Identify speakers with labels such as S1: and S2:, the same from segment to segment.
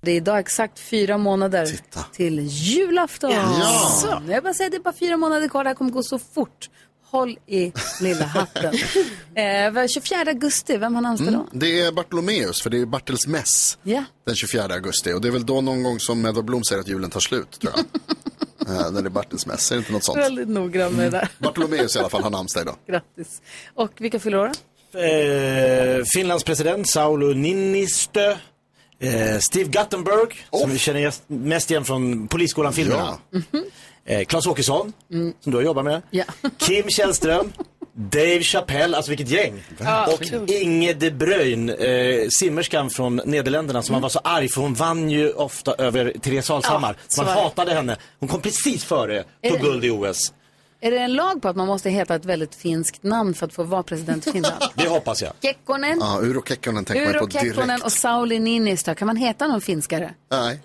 S1: Det är idag exakt fyra månader till julafton.
S2: Ja.
S1: Så, jag bara säger, det är bara fyra månader kvar, det här kommer gå så fort. Håll i lilla hatten. eh, vad- 24 augusti, vem har namnsdag då?
S2: Det är Bartolomeus, för det är ju Bartels mäss
S1: Ja.
S2: den 24 augusti. Och det är väl då någon gång som Edvard Blom säger att julen tar slut, tror jag. Eh, När det är Bartels mäss, är det inte något sånt?
S1: Väldigt noggrann med det där.
S2: Bartolomeus i alla fall har namnsdag idag.
S1: Grattis. Och vilka fyller år då?
S3: eh, Finlands president Saulu Niinistö, eh, Steve Guttenberg, som vi känner gäst- mest igen från Polisskolan-filmerna. Eh, Claes Åkesson, som du har jobbat med.
S1: Mm. Ja.
S3: Kim Källström, Dave Chappelle, alltså vilket gäng. Och Inge de Bruyn, eh, simmerskan från Nederländerna
S1: Mm.
S3: som man var så arg för hon vann ju ofta över Therese Alshammar.
S1: så
S3: man
S1: var det.
S3: hatade henne. Hon kom precis före,
S1: Är
S3: tog
S1: det-
S3: guld i OS.
S1: Är det en lag på att man måste heta ett väldigt finskt namn för att få vara president i Finland?
S3: Det hoppas jag.
S1: Kekkonen,
S2: Ja, Urho Kekkonen tänker man ju på
S1: Urho Kekkonen
S2: direkt.
S1: och Sauli Niinistö. Kan man heta någon finskare?
S2: Nej.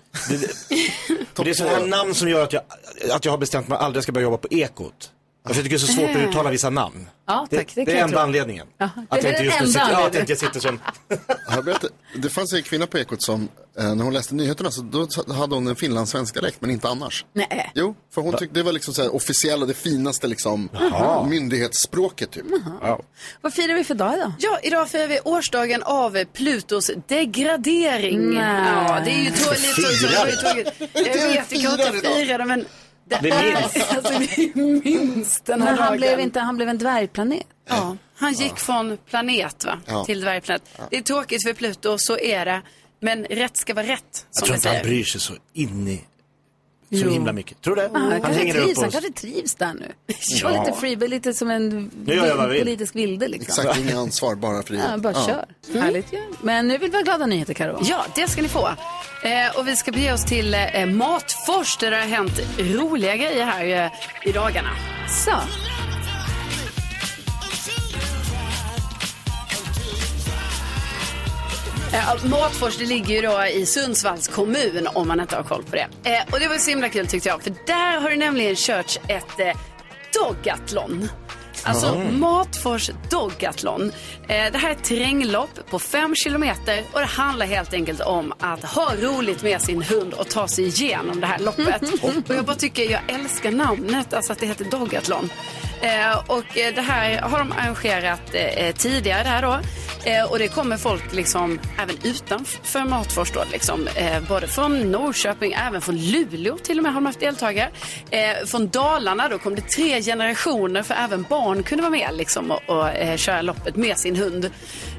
S3: Och det är sådana här namn som gör att jag, att jag har bestämt mig att jag aldrig ska börja jobba på Ekot. För jag tycker det är så svårt att uttala vissa namn.
S1: Eh. Ja,
S3: Det,
S1: tack. Det,
S3: det
S1: kan
S3: är
S1: jag
S3: enda
S1: tro.
S3: anledningen.
S1: det är den enda
S3: nu sitter, ja, att jag
S1: anledningen.
S3: inte sitter som...
S2: Har jag berättat- Det fanns en kvinna på Ekot som, eh, när hon läste nyheterna, så då hade hon en finlandssvensk dialekt, men inte annars.
S1: Nej.
S2: Jo, för hon tyckte det var liksom så här officiella, det finaste liksom, myndighetsspråket typ.
S1: Vad firar vi för dag idag?
S4: Ja, idag firar vi årsdagen av Plutos degradering.
S1: Nej.
S4: Ja, det är ju tråkigt.
S3: Firar?
S4: Jag vet, vi kan inte
S2: Firar idag?
S4: fira det, men det
S3: Vi
S4: är-
S3: minns.
S4: Alltså, vi minns den här
S1: Men han
S4: dagen.
S1: blev, inte, han blev en dvärgplanet.
S4: Ja, han gick från planet va?
S2: Ja.
S4: till dvärgplanet. Det är tråkigt för Pluto, så är det. Men rätt ska vara rätt,
S3: Jag
S4: som
S3: tror
S4: vi
S3: inte han
S4: säger.
S3: bryr sig så in i... Så himla mycket. Tror du det?
S1: Han,
S3: han
S1: kanske
S3: hänger
S1: trivs,
S3: upp
S1: han
S3: oss.
S1: kanske trivs där nu. Ja. Lite freebie, lite som en
S3: Nu gör jag vad jag vill.
S1: politisk vilde liksom.
S2: Exakt, inga ansvar, bara frihet.
S1: Ja, bara kör. Härligt ju. Men nu vill vi ha glada nyheter, Karo.
S4: Ja, det ska ni få. Eh, och vi ska bege oss till eh, Matfors där det har hänt roliga grejer här eh, i dagarna.
S1: Så.
S4: Eh, Matfors det ligger ju då i Sundsvalls kommun om man inte har koll på det. Eh, och det var så himla kul tyckte jag för där har det nämligen körts ett eh, dogathlon. Alltså Matfors dogathlon. Eh, det här är ett terränglopp på 5 kilometer och det handlar helt enkelt om att ha roligt med sin hund och ta sig igenom det här loppet. och jag bara tycker jag älskar namnet, alltså att det heter dogathlon. Eh, och eh, det här har de arrangerat eh, tidigare där då. Eh, och det kommer folk liksom även utanför Matfors då, liksom, eh, både från Norrköping, även från Luleå till och med har de haft deltagare. Eh, från Dalarna då kom det tre generationer för även barn kunde vara med liksom, och, och eh, köra loppet med sin hund.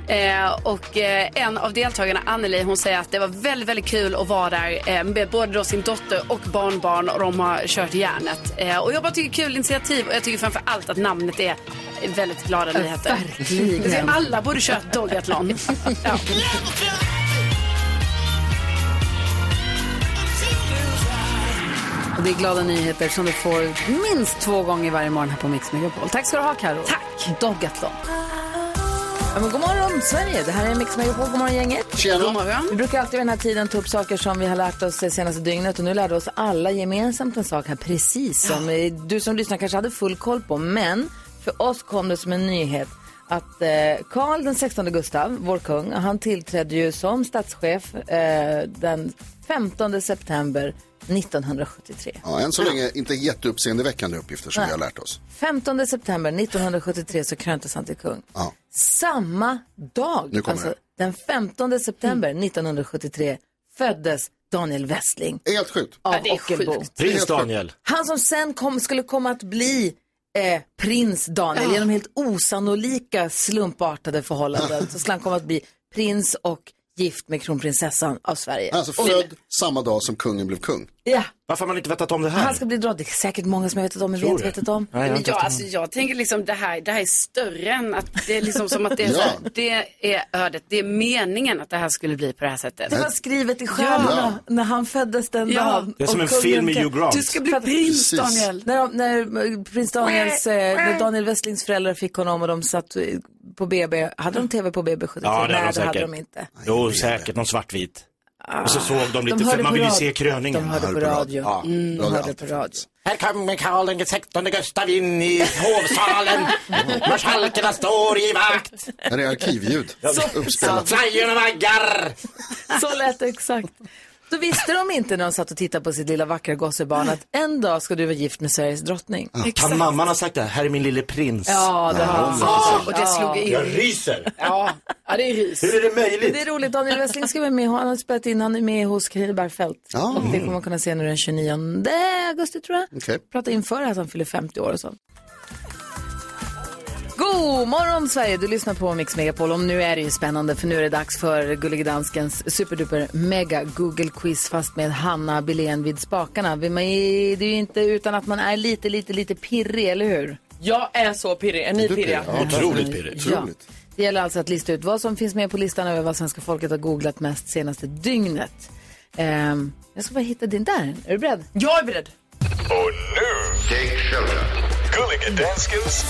S4: Eh, och eh, en av deltagarna, Anneli, hon säger att det var väldigt, väldigt kul att vara där eh, med både då sin dotter och barnbarn och de har kört järnet. Eh, och jag bara tycker kul initiativ och jag tycker framför allt att namnet är väldigt glada nyheter.
S1: verkligen.
S4: Jag tycker Alla borde köra ett dogathlon. ja.
S1: Och det är glada nyheter som du får minst två gånger varje morgon här på Mix Megapol. Tack ska du ha, Karo. Tack. Dogathlon.
S5: Ja, men god morgon Sverige, det här är Mix Megapol, god morgon gänget.
S4: God
S2: Tjena!
S4: morgon.
S5: Vi brukar alltid vid den här tiden ta upp saker som vi har lärt oss det senaste dygnet och nu lärde oss alla gemensamt en sak här precis som eh, du som lyssnar kanske hade full koll på men för oss kom det som en nyhet att eh, Karl den 16 Gustav, vår kung, han tillträdde ju som statschef eh, den 15 september 1973.
S2: Ja, än så länge inte jätteuppseendeväckande uppgifter som vi har lärt oss.
S5: 15 september 1973 så kröntes han till kung.
S2: Ja.
S5: Samma
S2: Nu
S5: dag,
S2: kommer
S5: alltså
S2: det.
S5: den 15 september 1973, föddes Daniel Westling
S2: Helt sjukt.
S5: av
S4: det är
S5: Ockelbo.
S4: sjukt.
S3: Prins Daniel.
S5: Han som sen kom, skulle komma att bli eh, prins Daniel genom helt osannolika slumpartade förhållanden. Så skulle han komma att bli prins och
S1: gift med kronprinsessan av Sverige.
S2: Alltså
S1: Och-
S2: född samma dag som kungen blev kung.
S1: Ja,
S3: Varför har man inte vetat om det här?
S1: han ska bli drottning. Det är säkert många som jag vetat om, men vi
S3: Tror
S1: har inte
S3: du?
S1: vetat om.
S3: Nej, jag har
S4: Men
S3: inte
S4: ja,
S3: vetat om
S4: alltså,
S3: det.
S4: jag tänker liksom det här, det här är större än att det är liksom som att det är, så här,
S2: Ja.
S4: det är ödet, det är meningen att det här skulle bli på det här sättet.
S1: Det var skrivet i stjärnorna när han föddes den
S4: Ja.
S1: dagen.
S3: Det är som
S1: Och
S3: en film med
S1: kungen-
S3: Hugh Grant.
S4: Du ska bli prins
S2: Precis.
S4: Daniel.
S1: När, de, när prins Daniels, eh, när Daniel Westlings föräldrar fick honom och de satt eh, på BB, hade de tv på BB 73?
S3: Ja, det hade de
S1: Nej, det hade
S3: säkert.
S1: de inte. Ah.
S3: Jo, säkert någon svartvit. Och så såg de lite,
S1: de hörde
S3: för man
S1: på
S3: vill ju
S1: radio.
S3: se kröningen.
S1: De hörde på radio.
S3: Ja.
S1: Mm, de
S2: Radio
S1: hörde på
S2: alltid
S1: radio.
S3: Här kommer Karl den sextonde Gustav in i hovsalen. Marskalkerna står i vakt.
S2: Här är arkivljud uppspelat.
S3: Flajjorna vaggar.
S1: Så lät det exakt. Då visste de inte när de satt och tittade på sitt lilla vackra gossebarn att en dag ska du vara gift med Sveriges drottning.
S3: Kan mamman ha sagt det? här? Här är min lille prins.
S1: Ja, det har de.
S4: Ja, och det slog
S3: Jag
S4: in.
S3: ryser.
S4: Ja, ja det är rys.
S3: Hur är det möjligt?
S1: Det är roligt, Daniel Westling ska vara med. Han har spelat in, han är med hos Carina Bergfeldt.
S2: Ja. Mm.
S1: Och det kommer man kunna se nu den 29 augusti tror jag.
S2: Okej.
S1: Prata inför att han fyller 50 år och så. God morgon Sverige, du lyssnar på Mix Megapol. Och nu är det ju spännande för nu är det dags för Gullige Danskens superduper mega Google quiz fast med Hanna Billén vid spakarna. Vi- man är- Det är ju inte utan att man är lite, lite, lite pirrig, eller hur?
S6: Jag är så pirrig. Är ni pirriga?
S2: Ja,
S3: Otroligt pirrigt.
S2: Otroligt.
S1: Ja. Det gäller alltså att lista ut vad som finns med på listan över vad svenska folket har googlat mest senaste dygnet. Ehm, jag ska bara hitta din där. Är du beredd?
S6: Jag är beredd.
S7: Och nu, Jake Shelton. Gulliga Danskens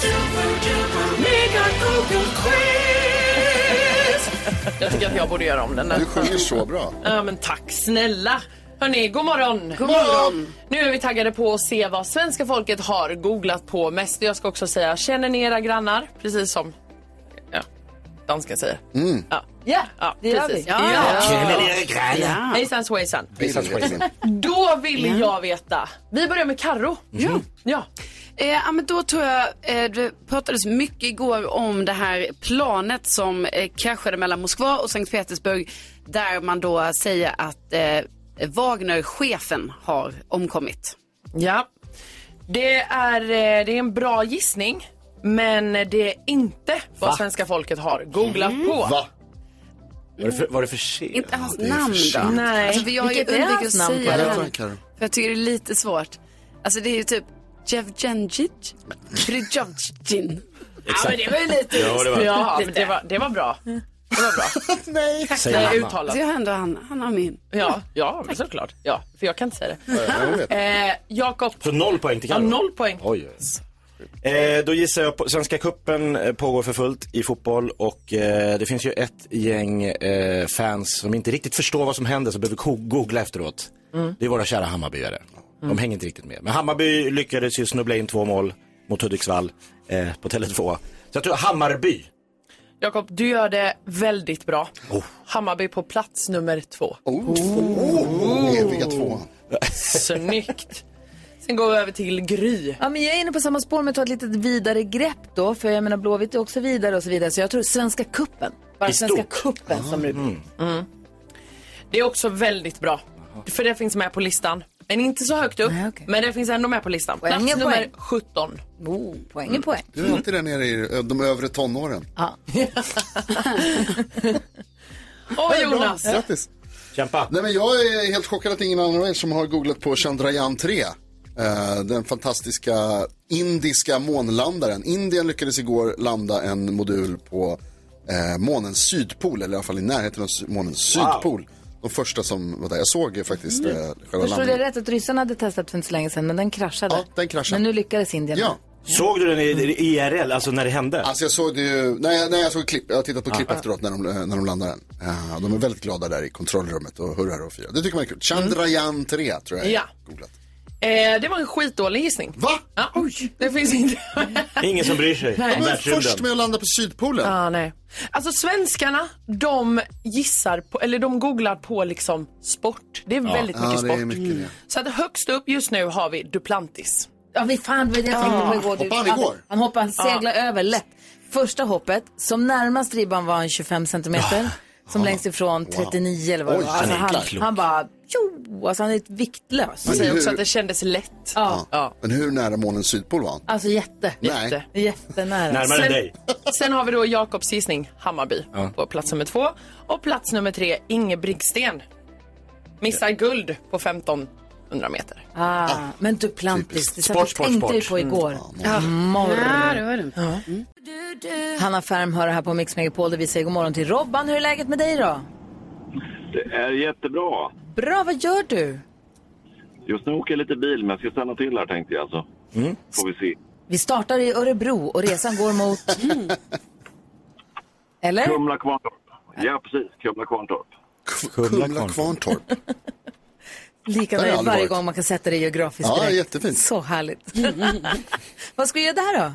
S6: Jag tycker att jag borde göra om den där.
S2: Du sjunger så bra.
S6: Ja, men tack snälla. Hörni, god morgon.
S1: God morgon.
S6: Nu är vi taggade på att se vad svenska folket har googlat på mest. Jag ska också säga, känner ni era grannar? Precis som ja, dansken säger. Ja.
S1: Mm. Ja,
S6: Ja,
S1: det gör
S6: precis.
S1: vi.
S6: Ja.
S4: Ja.
S6: Hejsan svejsan.
S2: Billigheten.
S6: Då vill jag veta. Vi börjar med Karro.
S1: Mm.
S6: Ja.
S4: Eh, ja, men då tror jag, eh, det pratades mycket igår om det här planet som eh, kraschade mellan Moskva och Sankt Petersburg där man då säger att eh, Wagner-chefen har omkommit.
S6: Ja. Det är, eh, det är en bra gissning. Men det är inte vad svenska folket har googlat på.
S2: Va?
S3: Var det för, var det för sent?
S4: Inte hans
S2: det är
S4: namn
S2: för
S4: då?
S2: sent.
S6: Nej.
S4: Alltså, för jag har ju
S1: Vilket är
S4: undvikit
S1: hans
S4: att
S1: namn,
S4: säga
S2: Vad
S4: det.
S2: heter
S4: här,
S2: han, Karo?
S4: För jag tycker det är lite svårt. Alltså det är ju typ Jevgenjic. Prijovjin.
S6: Ja, men det var ju lite
S3: Ja, det var-
S6: ja, men det, var, det var bra. Det var bra. Nej. Tack
S3: Säger
S6: för
S3: Hanna.
S6: uttalet.
S4: Så Alltså, jag har ändå han, han har min.
S6: Ja, ja men såklart. Ja, för jag kan inte säga det.
S2: Ja, jag vet.
S6: Eh, Jakob,
S3: Så noll poäng till
S6: ja,
S3: Carro?
S6: noll poäng.
S3: Oj. Eh, då gissar jag på, Svenska cupen eh, pågår för fullt i fotboll och eh, det finns ju ett gäng eh, fans som inte riktigt förstår vad som händer så behöver ko- googla efteråt.
S2: Mm.
S3: Det är våra kära Hammarbyare. De hänger inte riktigt med. Men Hammarby lyckades ju snubbla in två mål mot Hudiksvall eh, på Tele2. Så jag tror Hammarby.
S6: Jakob, du gör det väldigt bra. Hammarby på plats nummer två.
S2: Oh, två. Eviga tvåan.
S6: Snyggt. Sen går vi över till Gry.
S1: Ja, men jag är inne på samma spår men tar ett lite vidare grepp då. För jag menar Blåvitt är också vidare och så vidare. Så jag tror Svenska Kuppen. Bara
S3: I
S1: Svenska
S3: stort.
S1: Kuppen som rubrik.
S3: Mm.
S6: Det är också väldigt bra. För det finns med på listan. Men inte så högt upp.
S1: Nej, okej.
S6: Men det finns ändå med på listan.
S1: Poäng är
S6: Plats nummer
S1: poäng.
S6: 17.
S1: Oh, poäng är poäng.
S6: Mm.
S2: Du är alltid där nere i ö- de övre tonåren.
S6: Åh Jonas.
S2: Grattis.
S3: Kämpa.
S2: Nej, men jag är helt chockad att ingen annan av er som har googlat på Chandrayaan 3. Eh, den fantastiska indiska månlandaren. Indien lyckades igår landa en modul på eh, månens sydpol, eller i alla fall i närheten av sy- månens sydpol. De första som var där. Jag såg ju faktiskt eh, själva
S1: Förstod jag
S2: landningen.
S1: rätt att ryssarna hade testat för inte så länge sedan men den kraschade?
S2: Ja, den kraschade.
S1: Men nu lyckades Indien.
S2: Ja,
S3: Såg du den i, i IRL, alltså när det hände?
S2: alltså jag såg det ju, nej, nej jag såg klipp, jag har tittat på klipp efteråt när de, eh, när de landar den. Eh, de är väldigt glada där i kontrollrummet och hurrar och firar. Det tycker man är kul. Chandrayaan 3 tror jag jag
S6: Ja.
S2: googlat.
S6: Eh, det var en skitdålig gissning.
S2: Va?
S6: Ja, det finns inte.
S3: Ingen som bryr sig om
S2: De är först
S3: världsrymden.
S2: med att landa på Sydpolen.
S6: ah, nej. Alltså svenskarna, de gissar på, eller de googlar på liksom sport. Det är väldigt
S2: Ja,
S6: mycket
S2: det
S6: sport.
S2: är mycket
S1: Mm.
S2: det.
S6: Så att högst upp just nu har vi Duplantis.
S1: Ja, vi fan vad jag tänkte på igår. Du-
S2: Hoppade han igår?
S1: Han hoppade, han seglade över lätt. Första hoppet, som närmast ribban var en 25 centimeter. Som längst ifrån 39 eller vad det
S2: Oj,
S1: var. Alltså
S2: han är
S1: han,
S2: klok.
S1: han bara jo, alltså han är ett viktlös.
S6: Han säger också att det kändes lätt.
S1: Ja.
S2: Men hur nära månens sydpol var han?
S1: Alltså jätte.
S2: Nej. Jätte.
S1: Jättenära.
S2: Närmare
S6: sen,
S2: dig.
S6: sen har vi då Jakobs gissning, Hammarby, på plats nummer två. Och plats nummer tre, Inge Briggsten. Missar guld på 1500 meter.
S1: Ah, men Duplantis, det satt
S6: Sport,
S1: jag
S6: sport,
S1: tänkte ju
S6: sport.
S1: på igår.
S6: Ja.
S1: Morr.
S4: Ja, det var det.
S1: Hanna Färm hör det här på Mix Megapol där vi säger god morgon till Robban. Hur är läget med dig då?
S7: Det är jättebra.
S1: Bra, vad gör du?
S7: Just nu åker jag lite bil, men jag ska stanna till här tänkte jag. Så
S8: Mm.
S7: får vi se.
S1: Vi startar i Örebro och resan går mot... Eller?
S7: Kumla Kvarntorp. Ja, precis. Kumla Kvarntorp.
S2: Kumla Kvarntorp.
S1: Lika
S2: Där har jag
S1: nöjd
S2: aldrig
S1: varje
S2: varit.
S1: gång man kan sätta det geografiskt
S2: Ja,
S1: direkt.
S2: jättefint.
S1: Så härligt. Vad ska vi göra där då?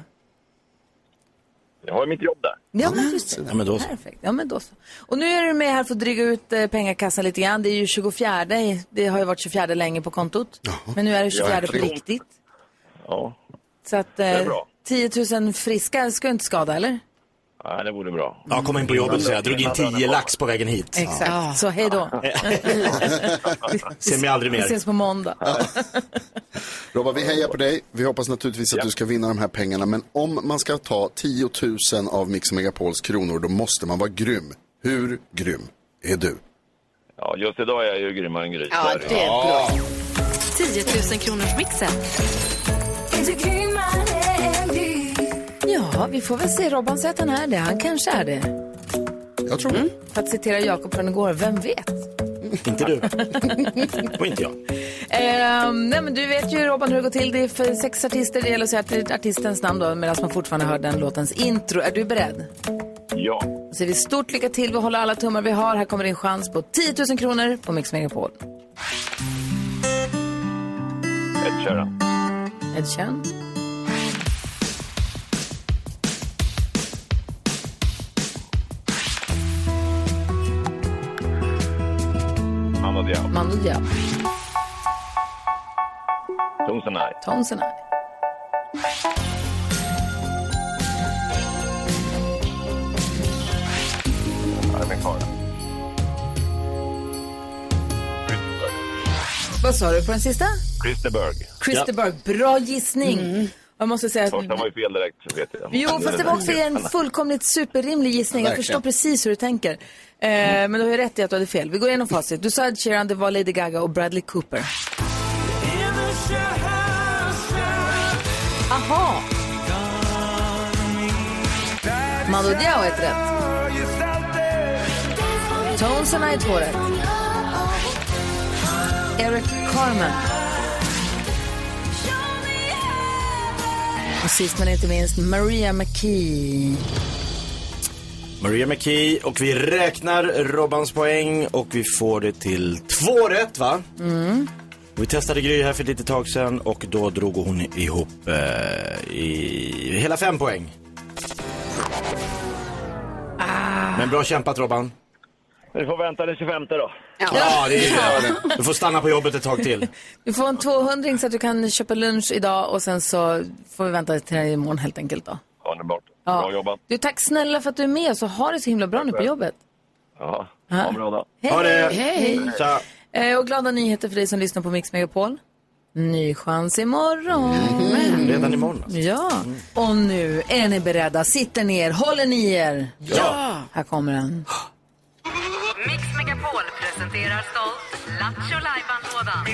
S7: Jag har mitt jobb där.
S1: Ja, men just det.
S3: Ja, men då så.
S1: Perfekt. Ja, men då så. Och nu är du med här för att dryga ut eh, pengakassan lite grann. Det är ju 24, det har ju varit 24 länge på kontot. Men nu är det 24 på
S7: verkligen.
S1: riktigt.
S7: Ja,
S1: Så att
S7: är
S1: eh,
S7: bra.
S1: 10 000 friska ska ju inte skada, eller?
S7: nej, det vore bra.
S3: Ja, kom in på jobbet och säga, jag drog in 10 lax på vägen hit.
S1: Exakt. Så hej då.
S3: Ser mig aldrig
S1: Vi
S3: mer.
S1: ses på måndag.
S2: Robban, vi hejar på dig. Vi hoppas naturligtvis att du ska vinna de här pengarna. Men om man ska ta 10 000 av Mix Megapols kronor, då måste man vara grym. Hur grym är du?
S7: Ja, just idag är jag ju grymmare än gris.
S4: Ja, det är bra.
S9: 10 000 kronors mixen.
S1: Ja, vi får väl se. Robban säger att han är det. Han kanske är det. Mm.
S2: Jag tror det.
S1: För att citera Jakob från igår, vem vet?
S3: Inte du. Och inte jag.
S1: Ehm, nej men du vet ju Robban hur det går till. Det är för sex artister. Det gäller att säga art- artistens namn då medan man fortfarande hör den låtens intro. Är du beredd?
S7: Ja.
S1: Då säger vi stort lycka till. Vi håller alla tummar vi har. Här kommer din chans på 10 000 kronor på Mix Megapol.
S7: Ett Sheeran.
S1: Ed Sheeran.
S7: Mando Diao.
S1: Mando Diao.
S7: Tones and I.
S1: Tones and I.
S7: Armin Kara.
S1: Vad sa du på den sista?
S7: Christer Berg.
S1: Christer Berg. Bra gissning. Jag måste säga
S7: Första
S1: att...
S7: var ju fel direkt, vet jag.
S1: Jo, fast det var också en fullkomligt superrimlig gissning. Jag
S2: Verkligen.
S1: förstår precis hur du tänker. Eh, Men du har ju rätt i att du hade fel. Vi går igenom facit. Du sa Ed Sheeran, det var Lady Gaga och Bradley Cooper. Aha! Mando Diao är ett rätt. Tones and I är två rätt. Eric Carmen. Och sist men inte minst Maria McKee.
S3: Maria McKee och vi räknar Robbans poäng och vi får det till två rätt va?
S1: Mm.
S3: Vi testade Gry här för ett litet tag sedan och då drog hon ihop eh, i hela fem poäng.
S1: Ah.
S3: Men bra kämpat Robban.
S7: Vi får vänta den 25 då.
S3: Ja, det är det. Du får stanna på jobbet ett tag till.
S1: Du får en 200 så att du kan köpa lunch idag och sen så får vi vänta till imorgon helt enkelt då.
S7: Underbart.
S1: Ja.
S7: Bra jobbat.
S1: Du, tack snälla för att du är med oss och ha det så himla bra nu på jobbet.
S7: Ja,
S1: Ja.
S7: ha en bra dag.
S3: Ha det!
S1: Hej!
S3: Tja.
S1: Eh, och glada nyheter för dig som lyssnar på Mix Megapol. Ny chans imorgon.
S3: Redan imorgon. alltså.
S1: Ja, och nu är ni beredda. Sitter ner, håller ni er?
S3: Ja.
S1: Här kommer den.
S10: Mix Megapol presenterar stolt Lattjo Lajban-lådan.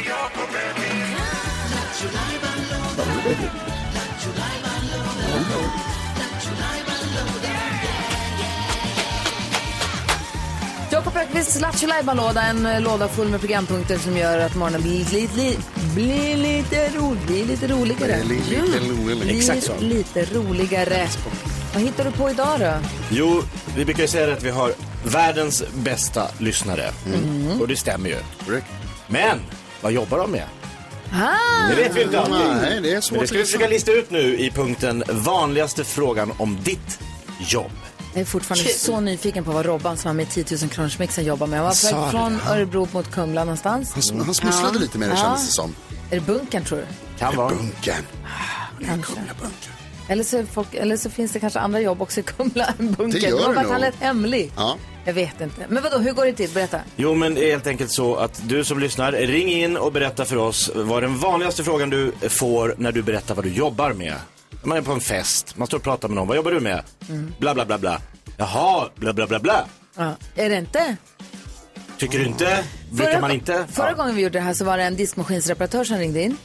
S1: Jakob Öqvists Lattjo Lajban-låda, en eh, låda full med programpunkter som gör att morgonen blir, li, li, blir lite, ro, blir lite roligare. Mm. Blir
S3: Exakt så.
S1: lite roligare. Vad hittar du på idag då?
S3: Jo, vi brukar ju säga att vi har världens bästa lyssnare.
S2: Mm.
S3: Och det stämmer ju. Men, vad jobbar de med? Det vet vi inte alltid.
S2: Nej, det är
S3: Men
S2: svårt
S3: det ska vi
S2: att
S3: försöka
S2: lyssna.
S3: lista ut nu i punkten vanligaste frågan om ditt jobb.
S1: Jag är fortfarande så nyfiken på vad Robban som var med i 10 000 kronorsmixen jobbar med. Han var på
S3: Sa
S1: väg
S3: det,
S1: från Örebro mot Kumla någonstans.
S2: Han, han smusslade lite med det
S1: Ja.
S2: kändes det som.
S1: Är det bunkern tror du?
S3: Kan vara.
S2: Bunkern.
S1: Kanske.
S2: Bunkern.
S1: Eller så, är folk, eller så finns det kanske andra jobb också i Kumla än bunkern.
S2: Det gör det
S1: Robban,
S2: nog.
S1: han lät hemlig.
S2: Ja.
S1: Jag vet inte. Men vadå, hur går det till? Berätta.
S3: Jo, men det är helt enkelt så att du som lyssnar, ring in och berätta för oss vad den vanligaste frågan du får när du berättar vad du jobbar med. Man är på en fest, man står och pratar med någon, vad jobbar du med?
S2: Mm.
S3: Bla, bla, bla, bla. Jaha, bla, bla, bla, bla.
S1: Ja. Är det inte?
S3: Tycker du inte? Blickar man inte?
S1: Förra gången vi gjorde det här så var det en diskmaskinsreparatör som ringde in.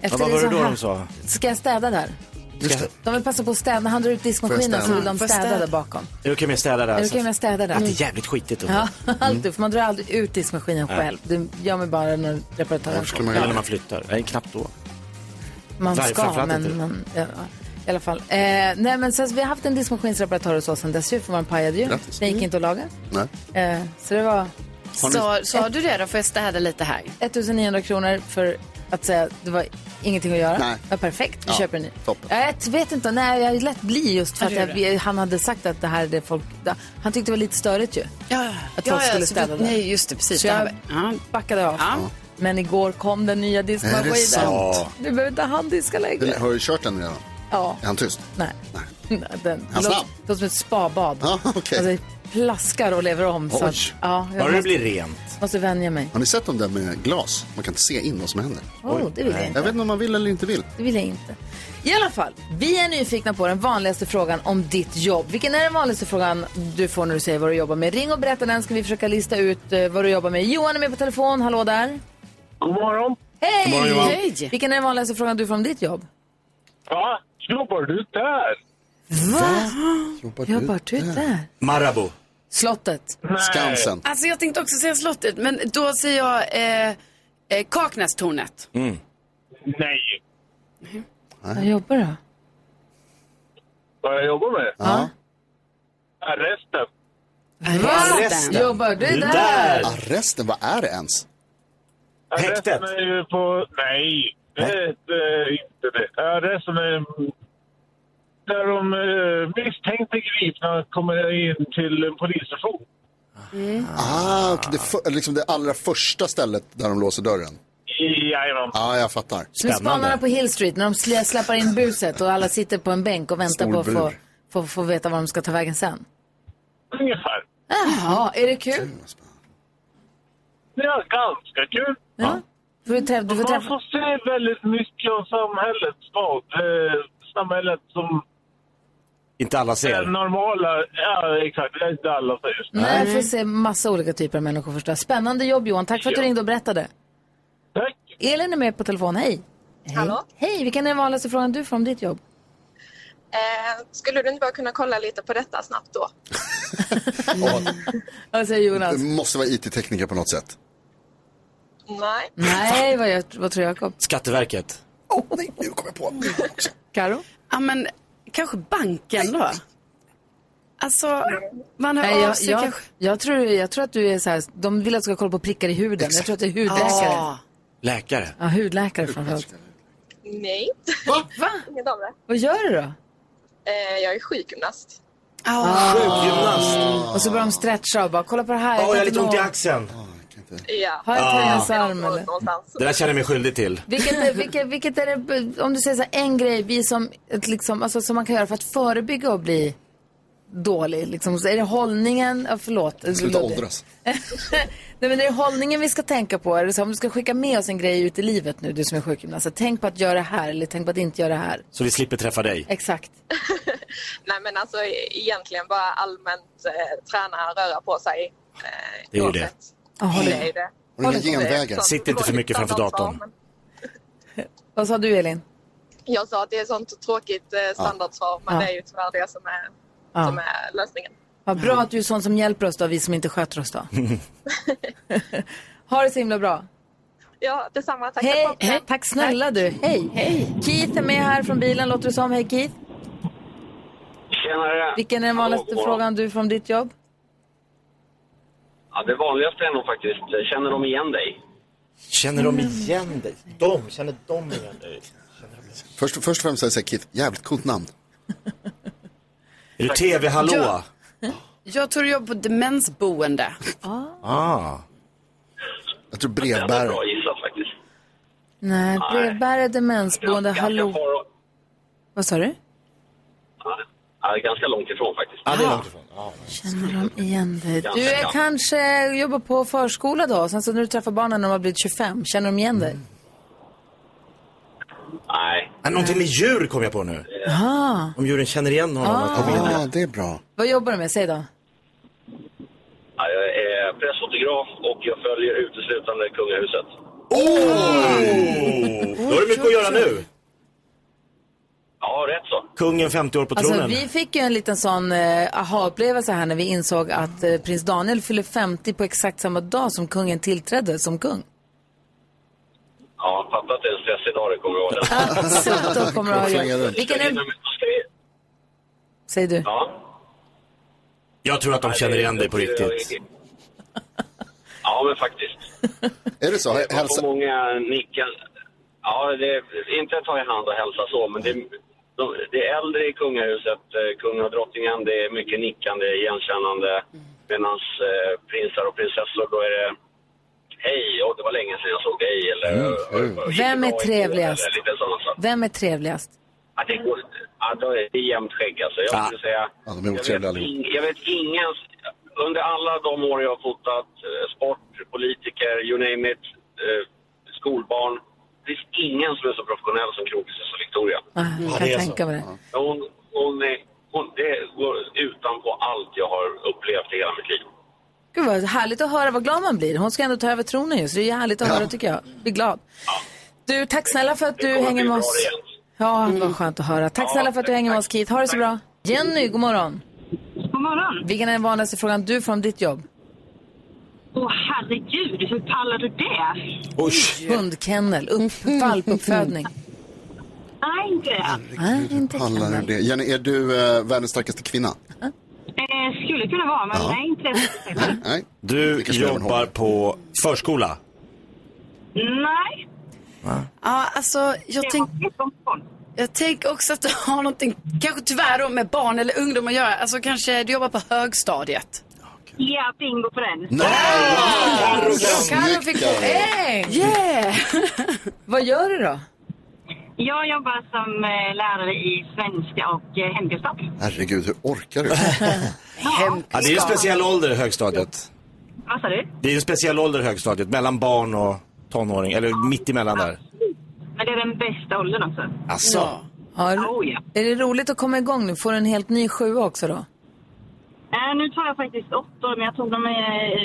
S3: Ja, vad var
S1: så
S3: det då
S1: här-
S3: de sa?
S1: Ska jag städa där?
S3: Just det.
S1: De vill passa på att städa. När han drar ut
S3: Får jag
S1: diskmaskinen så
S3: städa?
S1: vill de
S3: Får jag
S1: städa
S3: städa?
S1: där bakom.
S3: Är det okej om jag städar där?
S1: Är det okej om jag städar där?
S3: Att det är jävligt skitigt.
S1: Ja, alltid. För man drar aldrig ut diskmaskinen
S3: Nej.
S1: själv. Det gör man bara när reparatören
S3: Eller när man flyttar. Nej, knappt då.
S1: Man
S3: Varje-
S1: ska,
S3: framförallt
S1: men
S3: inte.
S1: man, ja, i alla fall. Eh, nej, men sen, så vi har haft en diskmaskinsreparatör hos oss sen dess ju, för man pajade ju.
S4: Grattis.
S1: Den
S3: Mm.
S1: gick inte att laga.
S2: Nej.
S1: Eh, så det var...
S4: Har ni- Sa- sa du det då? Får jag städa lite här?
S1: 1900 kronor för att säga att det var ingenting att göra.
S4: Nej.
S1: Ja, perfekt, vi
S4: Ja,
S1: köper en ny.
S4: toppen.
S1: Ja, Jag vet inte, nej jag lät bli just för
S4: Ja,
S1: att
S4: det
S1: jag,
S4: gjorde
S1: han hade sagt att det här är det folk... ja, Han tyckte det var lite störigt ju. Att folk skulle
S4: så-
S1: städa där.
S4: Nej, just det, precis.
S1: Så
S4: Det
S1: jag
S4: här-
S1: backade av. Men igår kom den nya
S2: Är
S1: diskmaskinen.
S2: det sant?
S1: Du behöver inte handdiska längre.
S2: Har du kört den redan?
S1: Ja.
S2: Är han tyst?
S1: Nej. Den
S2: Han
S1: låter-
S2: snabb?
S1: låter som ett spabad.
S2: Ja, okej.
S1: Alltså, plaskar och lever om. Så att,
S2: Oj.
S1: ja, jag måste,
S3: rent.
S1: måste vänja mig.
S2: Har ni sett dem där med glas? Man kan inte se in vad som händer.
S1: Oh, det vill jag
S2: Nej.
S1: inte.
S2: vet inte om man vill eller inte vill.
S1: Det vill jag inte. I alla fall, vi är nyfikna på den vanligaste frågan om ditt jobb. Vilken är den vanligaste frågan du får när du säger vad du jobbar med? Ring och berätta den, ska vi försöka lista ut eh, vad du jobbar med. Johan är med på telefon, hallå där.
S11: God morgon.
S1: Hej!
S11: God morgon, Johan.
S1: Hej! Vilken är den vanligaste frågan du får om ditt jobb?
S11: Ja, jobbar du där?
S1: Va? Jobbar du där?
S3: Marabou.
S1: Slottet.
S2: Skansen.
S4: Alltså jag tänkte också säga slottet, men då säger jag eh, eh, Kaknästornet.
S3: Mm.
S11: Nej.
S1: Vad jobbar du?
S11: Vad jag jobbar med? Ja. Arresten.
S2: Arresten.
S1: Jobbar du där?
S2: Arresten, vad är det ens?
S11: Arresten är ju på... Nej, det är eh, inte det. Arresten är... Där de eh, misstänkta gripna kommer in till en polisstation.
S2: Ah, okej, det, för, liksom det allra första stället där de låser dörren.
S11: Jajamän.
S2: Ja, ah, jag fattar.
S1: Som spanarna på Hill Street när de slä- släpar in buset och alla sitter på en bänk och väntar
S2: Stor
S1: på att få,
S2: bur.
S1: få, få veta var de ska ta vägen sen.
S11: Ungefär.
S1: Jaha, är det kul?
S11: Ja, ganska kul.
S1: Får du träffa, du får
S11: Man
S1: träffa...
S11: får se väldigt mycket av samhället snart. Eh, samhället som
S3: Inte alla
S11: det
S3: ser.
S11: normala... Ja, exakt. Det är inte alla som just nu.
S1: Nej, jag får se massa olika typer av människor förstås. Spännande jobb Johan, tack för att du
S11: Ja.
S1: ringde och berättade.
S11: Tack.
S1: Elin är med på telefon, hej. Hej. Hallå? Hej, vilken är den vanligaste frågan du får om ditt jobb?
S6: Eh, skulle du inte bara kunna kolla lite på detta snabbt då?
S1: Vad säger Jonas?
S2: Det måste vara IT-tekniker på något sätt.
S6: Nej.
S1: Nej, vad, jag, vad tror Jakob?
S3: Skatteverket.
S1: Karo?
S4: Ja, men kanske banken då? Alltså, man hör
S1: Nej,
S4: av
S1: jag,
S4: sig
S1: jag,
S4: kanske.
S1: jag, tror, jag tror att du är så här, de vill att du ska kolla på prickar i huden. Jag tror att det är hudläkare.
S4: Ja.
S3: Läkare.
S1: Ja, hudläkare framförallt.
S6: Nej.
S2: Va?
S6: Inget av det.
S1: Vad gör du då?
S6: Eh, jag är sjukgymnast.
S1: Ah.
S3: Sjukgymnast.
S1: Och så börjar de stretcha och bara kolla på det här.
S3: Åh, jag
S1: kan
S3: har
S1: inte
S3: lite ont i
S1: nå.
S3: axeln.
S6: Ja.
S1: Har jag
S3: Ah.
S1: tangensarm eller?
S3: Det där känner jag mig skyldig till.
S1: Vilket, är- vilket, vilket är det, om du säger så här, en grej vi som, ett liksom, alltså, som man kan göra för att förebygga att bli dålig. Liksom. Så är det hållningen, ja, förlåt.
S2: Sluta åldras.
S1: Nej, men det är hållningen vi ska tänka på. Är det så, om du ska skicka med oss en grej ut i livet nu, du som är sjukgymnast. så Tänk på att göra det här eller tänk på att inte göra det här.
S3: Så vi slipper träffa dig.
S1: Exakt.
S6: Nej men alltså e- egentligen bara allmänt eh, träna, röra på sig. Eh,
S3: Det är ju det.
S1: håller
S6: det är ju det.
S2: Och inga
S6: genvägar.
S3: Sitt inte för mycket framför datorn.
S1: Vad sa du Elin?
S6: Jag sa att det är sånt tråkigt eh, standardsvar men
S1: Ja.
S6: det är ju tyvärr det som är,
S1: Ja.
S6: som är lösningen.
S1: Vad bra att du är sån som hjälper oss då, vi som inte sköter oss då. ha det så himla bra.
S6: Ja, detsamma. Tack
S1: Hej,
S6: för
S1: hej, tack snälla du. Hej. hej. Keith är med här från bilen, låter det som. Hej Keith.
S12: Tjenare!
S1: Vilken är den vanligaste
S12: Hallå, god morgon.
S1: frågan du får om ditt jobb?
S12: Ja, det vanligaste är nog faktiskt, känner de igen dig?
S3: Känner de
S1: Mm.
S3: igen dig? De? Känner de igen dig?
S2: Först, först och främst säger jag så här, Keith, jävligt coolt namn.
S3: Är du TV-hallå?
S4: Ja. Jag tror jag på demensboende.
S3: Ah.
S2: Jag tror
S12: Det är
S2: brevbärare.
S12: bra gissat faktiskt.
S1: Nej, brevbärare, demensboende, hallå. Vad sa du?
S12: Ja, ganska långt ifrån faktiskt.
S3: Ja, det är långt ifrån.
S13: Känner de igen dig?
S1: Du är kanske jobbar på förskola då, sen så när du träffar barnen när de har blivit 25, känner de igen
S13: Mm.
S1: dig?
S3: Nej. Äh, Någonting med djur kom jag på nu.
S13: Ah.
S1: Aha.
S3: Om djuren känner igen honom.
S1: Ah.
S3: att de vill
S1: Ja,
S2: det är bra.
S1: Vad jobbar du med? Säg då.
S12: Ja, jag är pressfotograf och jag följer uteslutande kungahuset.
S3: Då har du mycket att göra nu.
S12: Ja, rätt så.
S3: Kungen 50 år på
S1: Alltså,
S3: tronen.
S1: vi fick ju en liten sån eh, aha-upplevelse här när vi insåg att eh, prins Daniel fyller 50 på exakt samma dag som kungen tillträdde som kung.
S12: Ja, fatta att det är en stressig dag, det kommer jag ihåg.
S1: Så då kommer du ha jobb. Vilken är... Säg du.
S3: Jag tror att de känner igen dig på riktigt.
S12: Ja, men faktiskt.
S2: Är det så?
S12: Man får många nickar. Ja, det är inte att ta i hand och hälsa så, men det, de, det är äldre i kungahuset, eh, kungen och drottningen, det är mycket nickande, igenkännande. Medan eh, prinsar och prinsessor, då är det hej, och det var länge sedan jag såg dig, eller
S1: Vem är
S12: "Idag, igår",
S1: trevligast?
S12: eller Lite sådana saker.
S1: Vem är trevligast?
S12: Ja, det, går, ja, då är det jämnt skägg alltså. Jag
S2: Ja.
S12: skulle säga...
S2: Ja, de är
S12: jag,
S2: otrevliga
S12: vet
S2: allihop.
S12: ing, jag vet ingen... Under alla de år jag har fotat, eh, sport, politiker, you name it, eh, skolbarn. Det finns ingen som är så professionell som kronprinsessa Victoria.
S1: Ah, jag Ja, kan det är så. tänka mig det.
S12: Ja, Hon, hon, är, hon, det går utanpå allt jag har upplevt i hela mitt liv.
S1: Gud vad härligt att höra vad glad man blir. Hon ska ändå ta över tronen just. Det är härligt att höra tycker jag. Blir glad. Du, tack snälla för att du hänger med oss. Ja, vad skönt att höra. Tack snälla för att du hänger med oss Keith. Ha det så bra. Jenny, god morgon.
S10: God morgon.
S1: Vilken är den vanligaste frågan du får om ditt jobb?
S10: Åh herregud, hur pallar du det?
S3: Usch.
S1: Hundkennel, upp, valpuppfödning.
S10: Nej, inte det.
S1: Nej, inte
S2: Pallar du det? Jenny, är du eh, världens starkaste kvinna?
S10: Eh, skulle kunna vara, men
S2: Ja.
S10: nej, inte det.
S2: Nej.
S3: Du jobbar på förskola.
S10: Nej.
S4: Ja, alltså jag tänker... Jag tänker också att det har någonting, kanske tyvärr då, med barn eller ungdom att göra. Alltså kanske du jobbar på högstadiet.
S10: Ja, bingo på den.
S1: Carro fick poäng! Yeah! vad gör du då?
S10: Jag jobbar som eh, lärare i svenska och eh, hemkunskap.
S2: Herregud, hur orkar du?
S3: Ja, det är en speciell ålder högstadiet.
S10: Vad sa du?
S3: Det är en speciell ålder högstadiet, mellan barn och tonåring. Eller mitt emellan där. Alltså,
S10: Men det är den bästa åldern alltså. också.
S3: Asså. Ja.
S1: Har,
S10: Oh,
S1: Är det roligt att komma igång nu? Får du en helt ny sjua också då?
S10: Eh, nu tar jag faktiskt åtta år, men jag tog dem eh,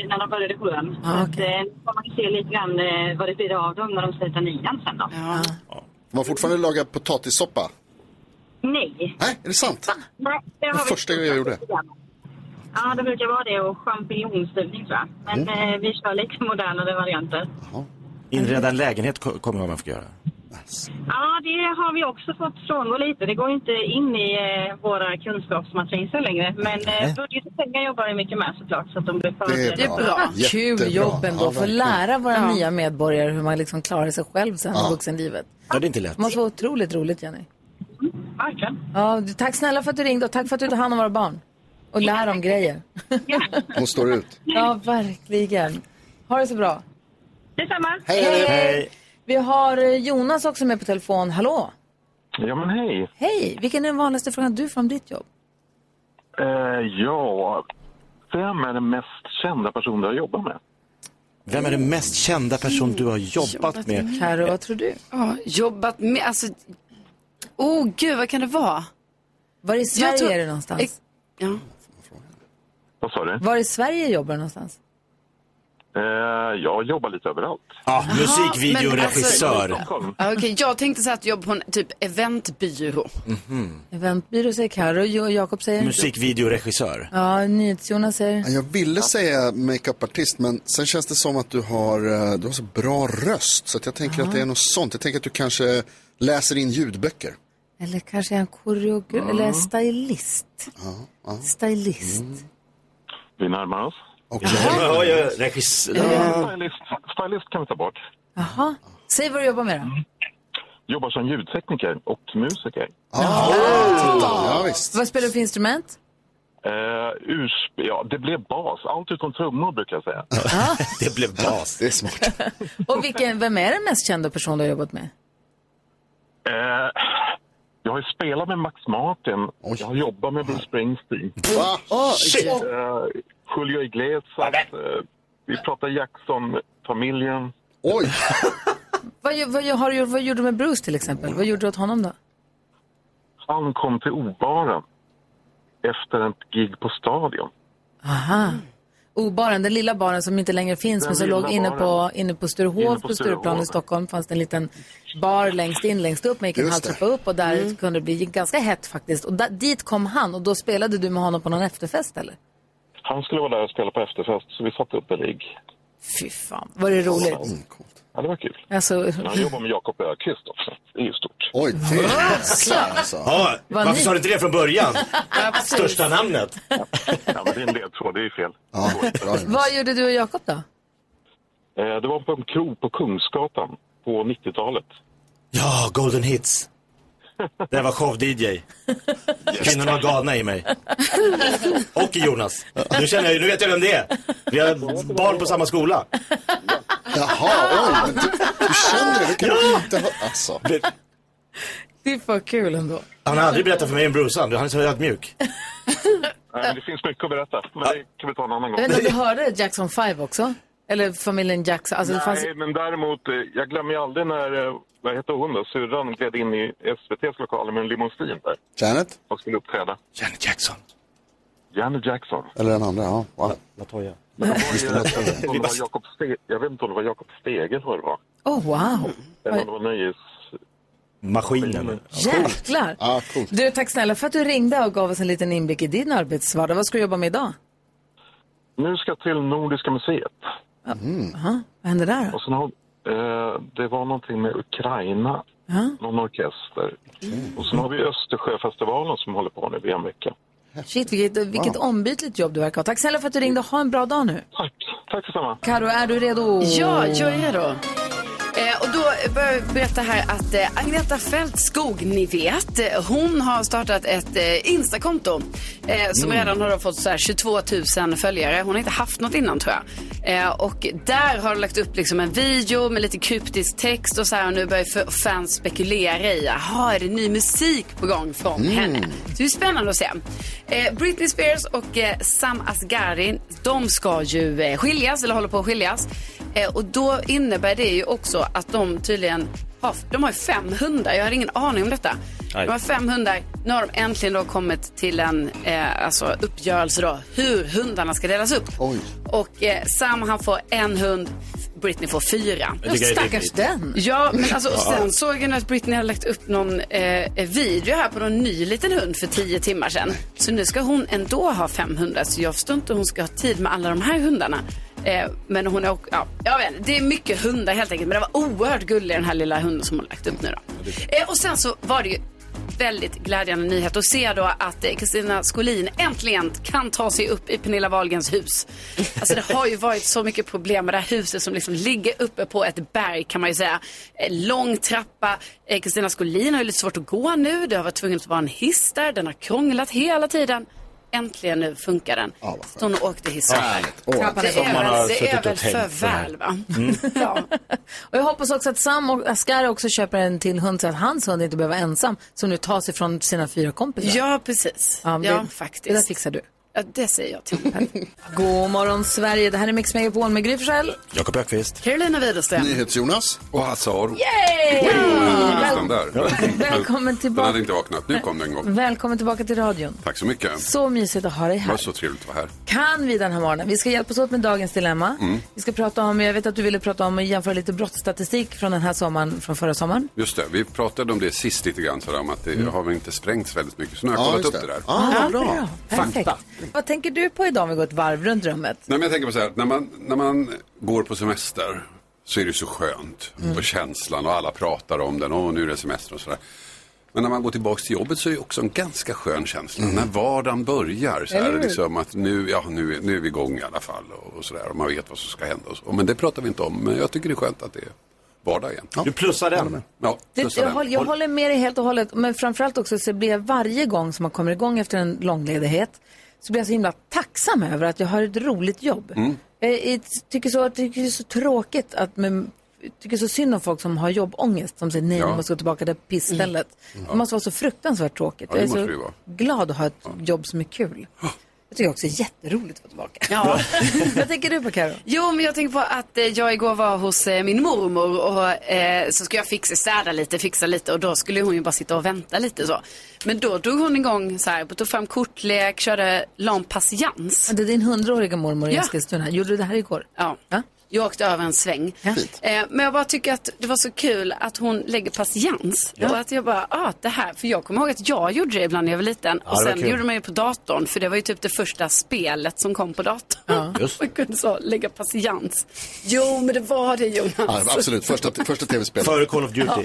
S10: när de började sjuan.
S1: Ah,
S10: Så att, eh, nu får man se lite grann eh, vad det blir av dem när de slutar nian sen då.
S2: Man fortfarande lagar potatissoppa?
S10: Nej.
S2: Nej, är det sant?
S10: Nej, det
S2: Det
S10: har
S2: var
S10: vi
S2: första gången jag gjorde.
S10: Ja, det brukar vara det och champinjonstuvning tror jag. Men
S2: Mm.
S10: eh, vi kör lite modernare varianter.
S3: Inreda en lägenhet ko- kommer jag man få göra.
S10: Ja, det har vi också fått frångå lite. Det går ju inte in i eh, våra kunskapsmatriser längre. Men eh, budget och pengar jobbar vi mycket med såklart. Så att de blir förutsedda.
S1: Vad Kul jobb ändå. Få lära våra
S10: Ja.
S1: nya medborgare hur man liksom klarar sig själv sen i vuxenlivet.
S3: Ja, det är inte lätt.
S1: Det måste vara otroligt roligt, Jenny. Ja, du- tack snälla för att du ringde och tack för att du tar hand om våra barn. Och lär dem grejer.
S2: Hon står ut.
S1: Ja, verkligen. Ha det så bra.
S10: Detsamma.
S1: Vi har eh, Jonas också med på telefon. Hallå!
S14: Ja, men hej.
S1: Hej! Vilken är den vanligaste frågan du får om ditt jobb?
S14: Eh, ja, vem är den mest kända person du har jobbat med?
S3: Vem är den mest kända person du har jobbat med?
S1: Karo, vad tror du?
S4: Ja, Ah, jobbat med, alltså... Oh gud, vad kan det vara?
S1: Var i Sverige
S4: Jag tror-
S1: är det någonstans?
S4: Ex- Ja.
S14: Vad sa du?
S1: Var i Sverige jobbar du någonstans?
S14: Eh, jag jobbar lite överallt.
S3: Ja,
S4: men alltså- Ja, Ah, okej, jag tänkte så här att du jobbar på en typ eventbyrå.
S1: Eventbyrå säger Karo, Jo- och Jakob säger...
S3: Musikvideoregissör.
S1: Ja, NyhetsJonas säger...
S2: Ja, Jag ville säga makeupartist, men sen känns det som att du har, eh, du har så bra röst. Så att jag tänker att det är något sånt. Jag tänker att du kanske läser in ljudböcker.
S1: Eller kanske är han koreograf,
S2: Mm.
S1: eller stylist.
S2: Ja, ja. Mm.
S1: Stylist.
S14: Vi närmar oss.
S2: Okay.
S3: Ja, ja, regissör.
S14: Stylist, stylist kan vi ta bort.
S1: Jaha. Säg vad du jobbar med då.
S14: Mm. Jobbar som ljudtekniker och musiker.
S2: Ah, Ja, visst.
S1: Vad spelar du för instrument?
S14: Eh, urs, ja, det blev bas. Allt utom trummor brukar jag säga.
S3: det blev bas.
S2: Det är smart.
S1: Och vilken, vem är den mest kända person du har jobbat med?
S14: Eh, jag har har ju spelat med Max Martin. Jag har jobbat med Bruce Springsteen.
S2: Va?
S15: Åh, shit!
S14: Eh, Julio Iglesias. eh, vi pratar Jackson-familjen.
S2: Oj!
S1: Vad, gö- vad, gö- har du, gjort- vad gjorde du med Bruce till exempel? Vad gjorde du åt honom då?
S14: Han kom till Obaren efter ett gig på Stadion.
S1: Aha. Obaren, den lilla baren som inte längre finns
S14: Mm. Den
S1: men som
S14: lilla
S1: låg inne på,
S14: baren.
S1: inne på Sturehof
S14: Inne på
S1: på Stureplan i
S14: Sturehov.
S1: Stockholm fanns det en liten bar längst in, längst upp. Man gick en
S14: Just
S1: halv
S14: det. Mm.
S1: trappa upp och där kunde det bli ganska hett faktiskt. Och där, dit kom han och då spelade du med honom på någon efterfest eller?
S14: Han skulle vara där och spela på efterfest, så vi satte upp en rigg.
S1: Fy fan, var det roligt?
S14: Ja, det var kul.
S1: Alltså,
S14: Men Han jobbar med Jakob Öqvist också. Det är ju stort.
S2: Oj, det
S1: Jäklar, alltså.
S3: Ja,
S1: Vad
S3: varför
S1: ni-
S3: sa du inte det från början?
S1: Ja, precis.
S3: Största namnet.
S14: Ja, men det är en ledtråd, det är ju fel.
S1: vad gjorde du och Jakob då?
S14: Eh, Det var på en krog på Kungsgatan på 90-talet.
S3: Ja, Golden Hits. Det var show-DJ. Kvinnorna var galna i mig. Och i Jonas. Nu känner jag, nu vet jag vem det är. Vi har barn på samma skola.
S2: Jaha, oj. Men du, du känner det? Det kan du inte ha... Alltså.
S1: Det är för kul ändå.
S3: Han har aldrig berättat för mig om Brusan. Han är så ödmjuk.
S14: Nej, men det finns mycket att berätta, men det kan vi ta en annan gång.
S1: Jag vet inte om du hörde Jackson 5 också? Eller familjen Jackson? Alltså, det fanns...
S14: Nej, men däremot, eh, jag glömmer ju aldrig när, eh, vad hette hon då, syrran gled in i SVTs lokaler med en limousin där.
S2: Janet?
S14: Och skulle uppträda.
S3: Janet Jackson.
S14: Janet Jackson.
S2: Eller den andra, ja. Wow.
S3: Latoya.
S14: Men det var ju, jag, vet inte om det var Jakob Ste- jag vet inte om det var Jakob Stege eller vad det var.
S1: Oh, wow.
S14: Eller om det var Nöjes...
S3: Maskinen.
S1: Jäklar.
S14: Ja, coolt.
S1: Du, tack snälla för att du ringde och gav oss en liten inblick i din arbetsvardag. Vad ska du jobba med idag?
S14: Nu ska jag till Nordiska museet.
S1: Aha, vad händer där då?
S14: Och sen har, eh, det var någonting med Ukraina, någon orkester.
S1: Mm.
S14: Och sen har vi Östersjöfestivalen som håller på nu i en vecka.
S1: Shit, vilket, vilket ombytligt jobb du verkar ha. Tack snälla för att du ringde. Ha en bra dag nu.
S14: Tack detsamma.
S1: Karo, är du redo?
S4: Ja, jag är redo. Eh, och då börjar jag berätta här att eh, Agneta Fältskog, ni vet, eh, hon har startat ett eh, Instakonto eh, som
S16: Mm.
S4: redan har då fått så här 22 000 följare. Hon har inte haft något innan tror jag. Eh, och där har hon lagt upp liksom en video med lite kryptisk text och så här och nu börjar f- fans spekulera i, jaha, är det ny musik på gång från
S16: Mm.
S4: henne? Så det är spännande att se. Eh, Britney Spears och eh, Sam Asghari, de ska ju eh, skiljas, eller håller på att skiljas. Eh, och då innebär det ju också att de tydligen har, de har ju fem hundar. Jag har ingen aning om detta.
S16: Nej.
S4: De har fem hundar. Nu har de äntligen då kommit till en eh, alltså uppgörelse då, hur hundarna ska delas upp. Och eh, Sam han får en hund, Britney får fyra.
S16: Jag tycker det är Stackars rimligt. den.
S4: Ja, men alltså, och
S16: Ja.
S4: sen såg jag nu att Britney hade lagt upp någon eh, video här på någon ny liten hund för tio timmar sedan. Så nu ska hon ändå ha 500, så jag förstår inte hur hon ska ha tid med alla de här hundarna. Eh, men hon är också, ja, jag vet, inte, det är mycket hundar helt enkelt. Men det var oerhört gullig den här lilla hunden som hon lagt upp nu då. Eh, och sen så var det ju väldigt glädjande nyhet att se då att eh, Kristina Skolin äntligen kan ta sig upp i Pernilla Wahlgrens hus. Alltså det har ju varit så mycket problem med det här huset som liksom ligger uppe på ett berg kan man ju säga. Eh, Lång trappa. Eh, Kristina Skolin har ju lite svårt att gå nu. Det har varit tvungen att vara en hiss där. Den har krånglat hela tiden. Äntligen nu funkar den. Så hon åkte hissen.
S2: Härligt.
S4: Det
S2: Åh,
S4: är
S2: vad skönt. Som man
S4: väl-
S2: har
S4: det är
S2: suttit och
S4: väl
S2: tänkt
S4: för
S2: på det här. Mm.
S4: väl va?
S1: Och jag hoppas också att Sam och Asghar också köper en till hund så att hans hund inte behöver vara ensam som nu tar sig från sina fyra kompisar.
S4: Ja, precis.
S1: Ja, men
S4: Ja,
S1: det,
S4: faktiskt.
S1: Det där fixar du.
S4: Ja, det säger jag till
S1: God morgon Sverige, det här är Mix Megapol med Gry Forssell.
S2: Jakob Öqvist.
S4: Carolina Widerström.
S17: NyhetsJonas. Och Hasse Aro.
S1: Yay! Väl-
S17: Listan där.
S1: Välkommen
S17: Den hade
S1: tillbaka.
S17: inte vaknat. Nu kom den en gång.
S1: Välkommen tillbaka till radion.
S17: Tack så mycket.
S1: Så mysigt att ha dig
S17: Det var
S1: här.
S17: så trevligt att vara här.
S1: Kan vi den här morgonen? Vi ska hjälpas åt med dagens dilemma.
S17: Mm.
S1: Vi ska prata om, jag vet att du ville prata om och jämföra lite brottsstatistik från den här sommaren, från förra sommaren.
S17: Just det, vi pratade om det sist lite grann, sådär, om att det har väl inte sprängts väldigt mycket. Så nu har jag
S1: Mm. Ja, just
S17: kollat upp det
S1: det. Ah,
S17: där.
S1: bra. Perfekt. Vad tänker du på idag om vi går ett varv runt rummet?
S17: Nej, men jag tänker på så här, att när man, när man går på semester så är det ju så skönt.
S15: Mm.
S17: Och känslan och alla pratar om den. Åh, nu är det semester och sådär. Men när man går tillbaka till jobbet så är det också en ganska skön känsla. När vardagen börjar så
S15: Mm. Eller
S17: är
S15: hur?
S17: det liksom att nu, ja, nu, är- nu är vi igång i alla fall. Och, och sådär. Och man vet vad som ska hända. Och så. Men det pratar vi inte om. Men jag tycker det är skönt att det är vardag igen. Du
S3: plussar den.
S17: Ja,
S1: Det,
S17: plussar
S1: jag,
S17: den.
S1: håller, jag håller med dig helt och hållet, men framförallt också så blir jag varje gång som man kommer igång efter en långledighet så blir jag så himla tacksam över att jag har ett roligt jobb. Eh,
S16: Mm.
S1: Jag, jag tycker, så, jag tycker det är så tråkigt att med tycker så synd om folk som har jobbångest som säger nej,
S5: Ja.
S1: man måste gå tillbaka till pissstället.
S5: Mm.
S1: Det måste vara så fruktansvärt tråkigt.
S5: Ja, det
S1: jag är
S5: måste
S1: så
S5: det ju vara.
S1: glad att ha ett jobb som är kul. Jag tycker också det är jätteroligt att vara tillbaka.
S4: Ja.
S1: Vad tänker du på Karo?
S4: Jo, men jag tänker på att eh, jag igår var hos eh, min mormor och eh, så skulle jag fixa, städa lite, fixa lite och då skulle hon ju bara sitta och vänta lite så. Men då drog hon igång så här, tog fram kortlek, körde lam patiens.
S1: Det är din hundraåriga mormor i
S4: Ja.
S1: Eskilstuna. Gjorde du det här igår?
S4: Ja. Jag åkte över en sväng. Eh, men jag bara tycker att det var så kul att hon lägger patiens.
S1: Ja.
S4: Och att jag bara, ah, det här. För jag kommer ihåg att jag gjorde det ibland när jag var liten.
S1: Ja,
S4: och
S1: det var
S4: sen
S1: kul.
S4: gjorde man det på datorn. För det var ju typ det första spelet som kom på datorn.
S3: Just.
S4: Man kunde så lägga patiens. Jo, men det var det Jonas.
S2: Ja, absolut, första, första tv-spelet.
S3: Före Call of Duty.
S4: Ja.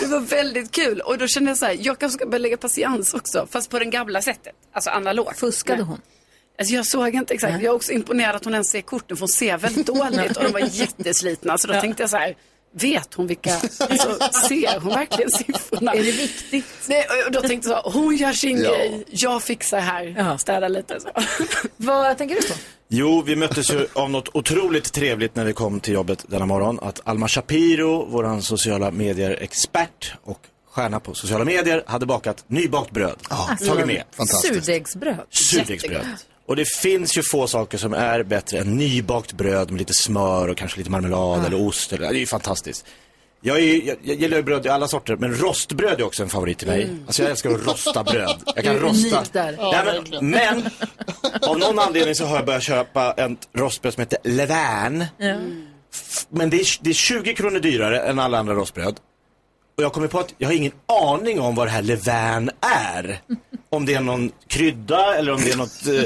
S4: Det var väldigt kul. Och då kände jag så här, jag kanske ska börja lägga patiens också. Fast på det gamla sättet. Alltså analogt.
S1: Fuskade hon?
S4: Alltså jag såg inte exakt. Jag är också imponerad att hon ens ser korten för hon ser väldigt dåligt och de var jätteslitna. Så då
S1: Ja.
S4: tänkte jag så här, vet hon vilka, alltså, ser hon verkligen siffrorna?
S1: Är det
S4: viktigt? Nej, och- och då tänkte jag så här, hon gör sin
S3: Ja.
S4: grej, jag fixar här, städar lite. Så.
S1: Vad tänker du på?
S3: Jo, vi möttes ju av något otroligt trevligt när vi kom till jobbet denna morgon. Att Alma Shapiro, våran sociala medier-expert och stjärna på sociala medier, hade bakat nybakt bröd. Tagit med.
S1: Surdegsbröd.
S3: Surdegsbröd. Och det finns ju få saker som är bättre än nybakt bröd med lite smör och kanske lite marmelad eller ost. Eller, det är ju fantastiskt. Jag, är, ju- jag, jag gillar ju bröd i alla sorter, men rostbröd är också en favorit till mig.
S15: Mm.
S3: Alltså jag älskar att rosta bröd. Jag kan
S15: Du är
S3: rosta.
S15: unik där. Ja,
S3: Nej, men,
S15: verkligen.
S3: men av någon anledning så har jag börjat köpa ett rostbröd som heter Levain.
S1: Mm.
S3: Men det är, det är 20 kronor dyrare än alla andra rostbröd. Och jag kommer på att jag har ingen aning om vad det här levain är. Om det är någon krydda eller om det är något, eh,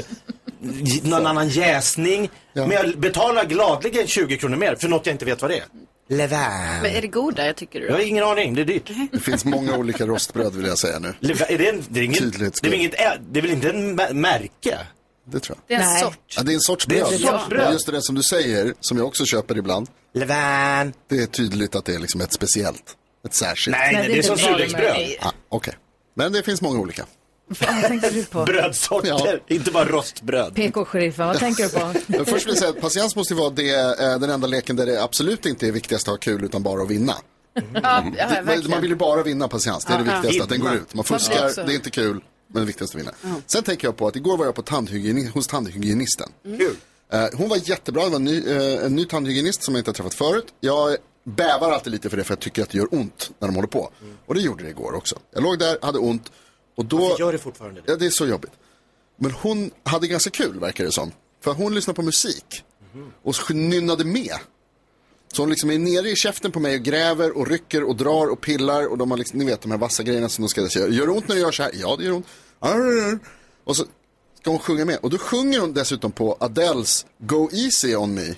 S3: j- någon annan jäsning. Men jag betalar gladligen 20 kronor mer för något jag inte vet vad det är. Levain.
S4: Men är det goda, tycker du?
S3: Jag har ingen aning, det är dyrt.
S2: Det finns många olika rostbröd vill jag säga nu.
S3: Är det, en, det, är inget, det, är väl inget, ä- det är väl inte en mä- märke?
S2: Det tror jag.
S4: Det är en Nej. sort.
S2: Ja, det är en sorts
S3: Det är
S2: bröd.
S3: en sorts bröd.
S2: Men just det som du säger, som jag också köper ibland.
S3: Levain.
S2: Det är tydligt att det är liksom ett speciellt, ett särskilt.
S3: Nej, nej, det är som surdegsbröd.
S2: Ah, Okej, men det finns många olika.
S1: Vad tänker du på?
S3: Brödsorter, inte bara rostbröd.
S1: PK-sheriffen, vad tänker du på?
S2: Men först vill jag säga att patiens måste ju vara det, eh, den enda leken där det absolut inte är viktigast att ha kul utan bara att vinna.
S4: Ja, ja,
S2: Det- man-
S4: verkligen.
S2: man vill ju bara vinna patiens, det är det
S4: Ja, ja.
S2: viktigaste, att den går ut. Man
S4: Fast
S2: fuskar,
S4: också-
S2: det är inte kul, men det viktigaste är att vinna. Sen tänker jag på att igår var jag på tandhygieni- hos tandhygienisten. Eh, Hon var jättebra, det var en ny, eh, en ny tandhygienist som jag inte har träffat förut. Jag bävar alltid lite för det för jag tycker att det gör ont när de håller på. Och det gjorde det igår också. Jag låg där, hade ont. Och då...
S3: Varför gör det fortfarande det?
S2: Ja, det är så jobbigt. Men hon hade ganska kul verkar det som. För hon lyssnade på musik och så nynnade med. Så hon liksom är nere i käften på mig och gräver och rycker och drar och pillar och de har liksom, ni vet de här vassa grejerna som de ska säga. Gör det ont när du gör så här? Ja, det gör ont. Arr. Och så ska hon sjunga med. Och då sjunger hon dessutom på Adeles Go Easy On Me.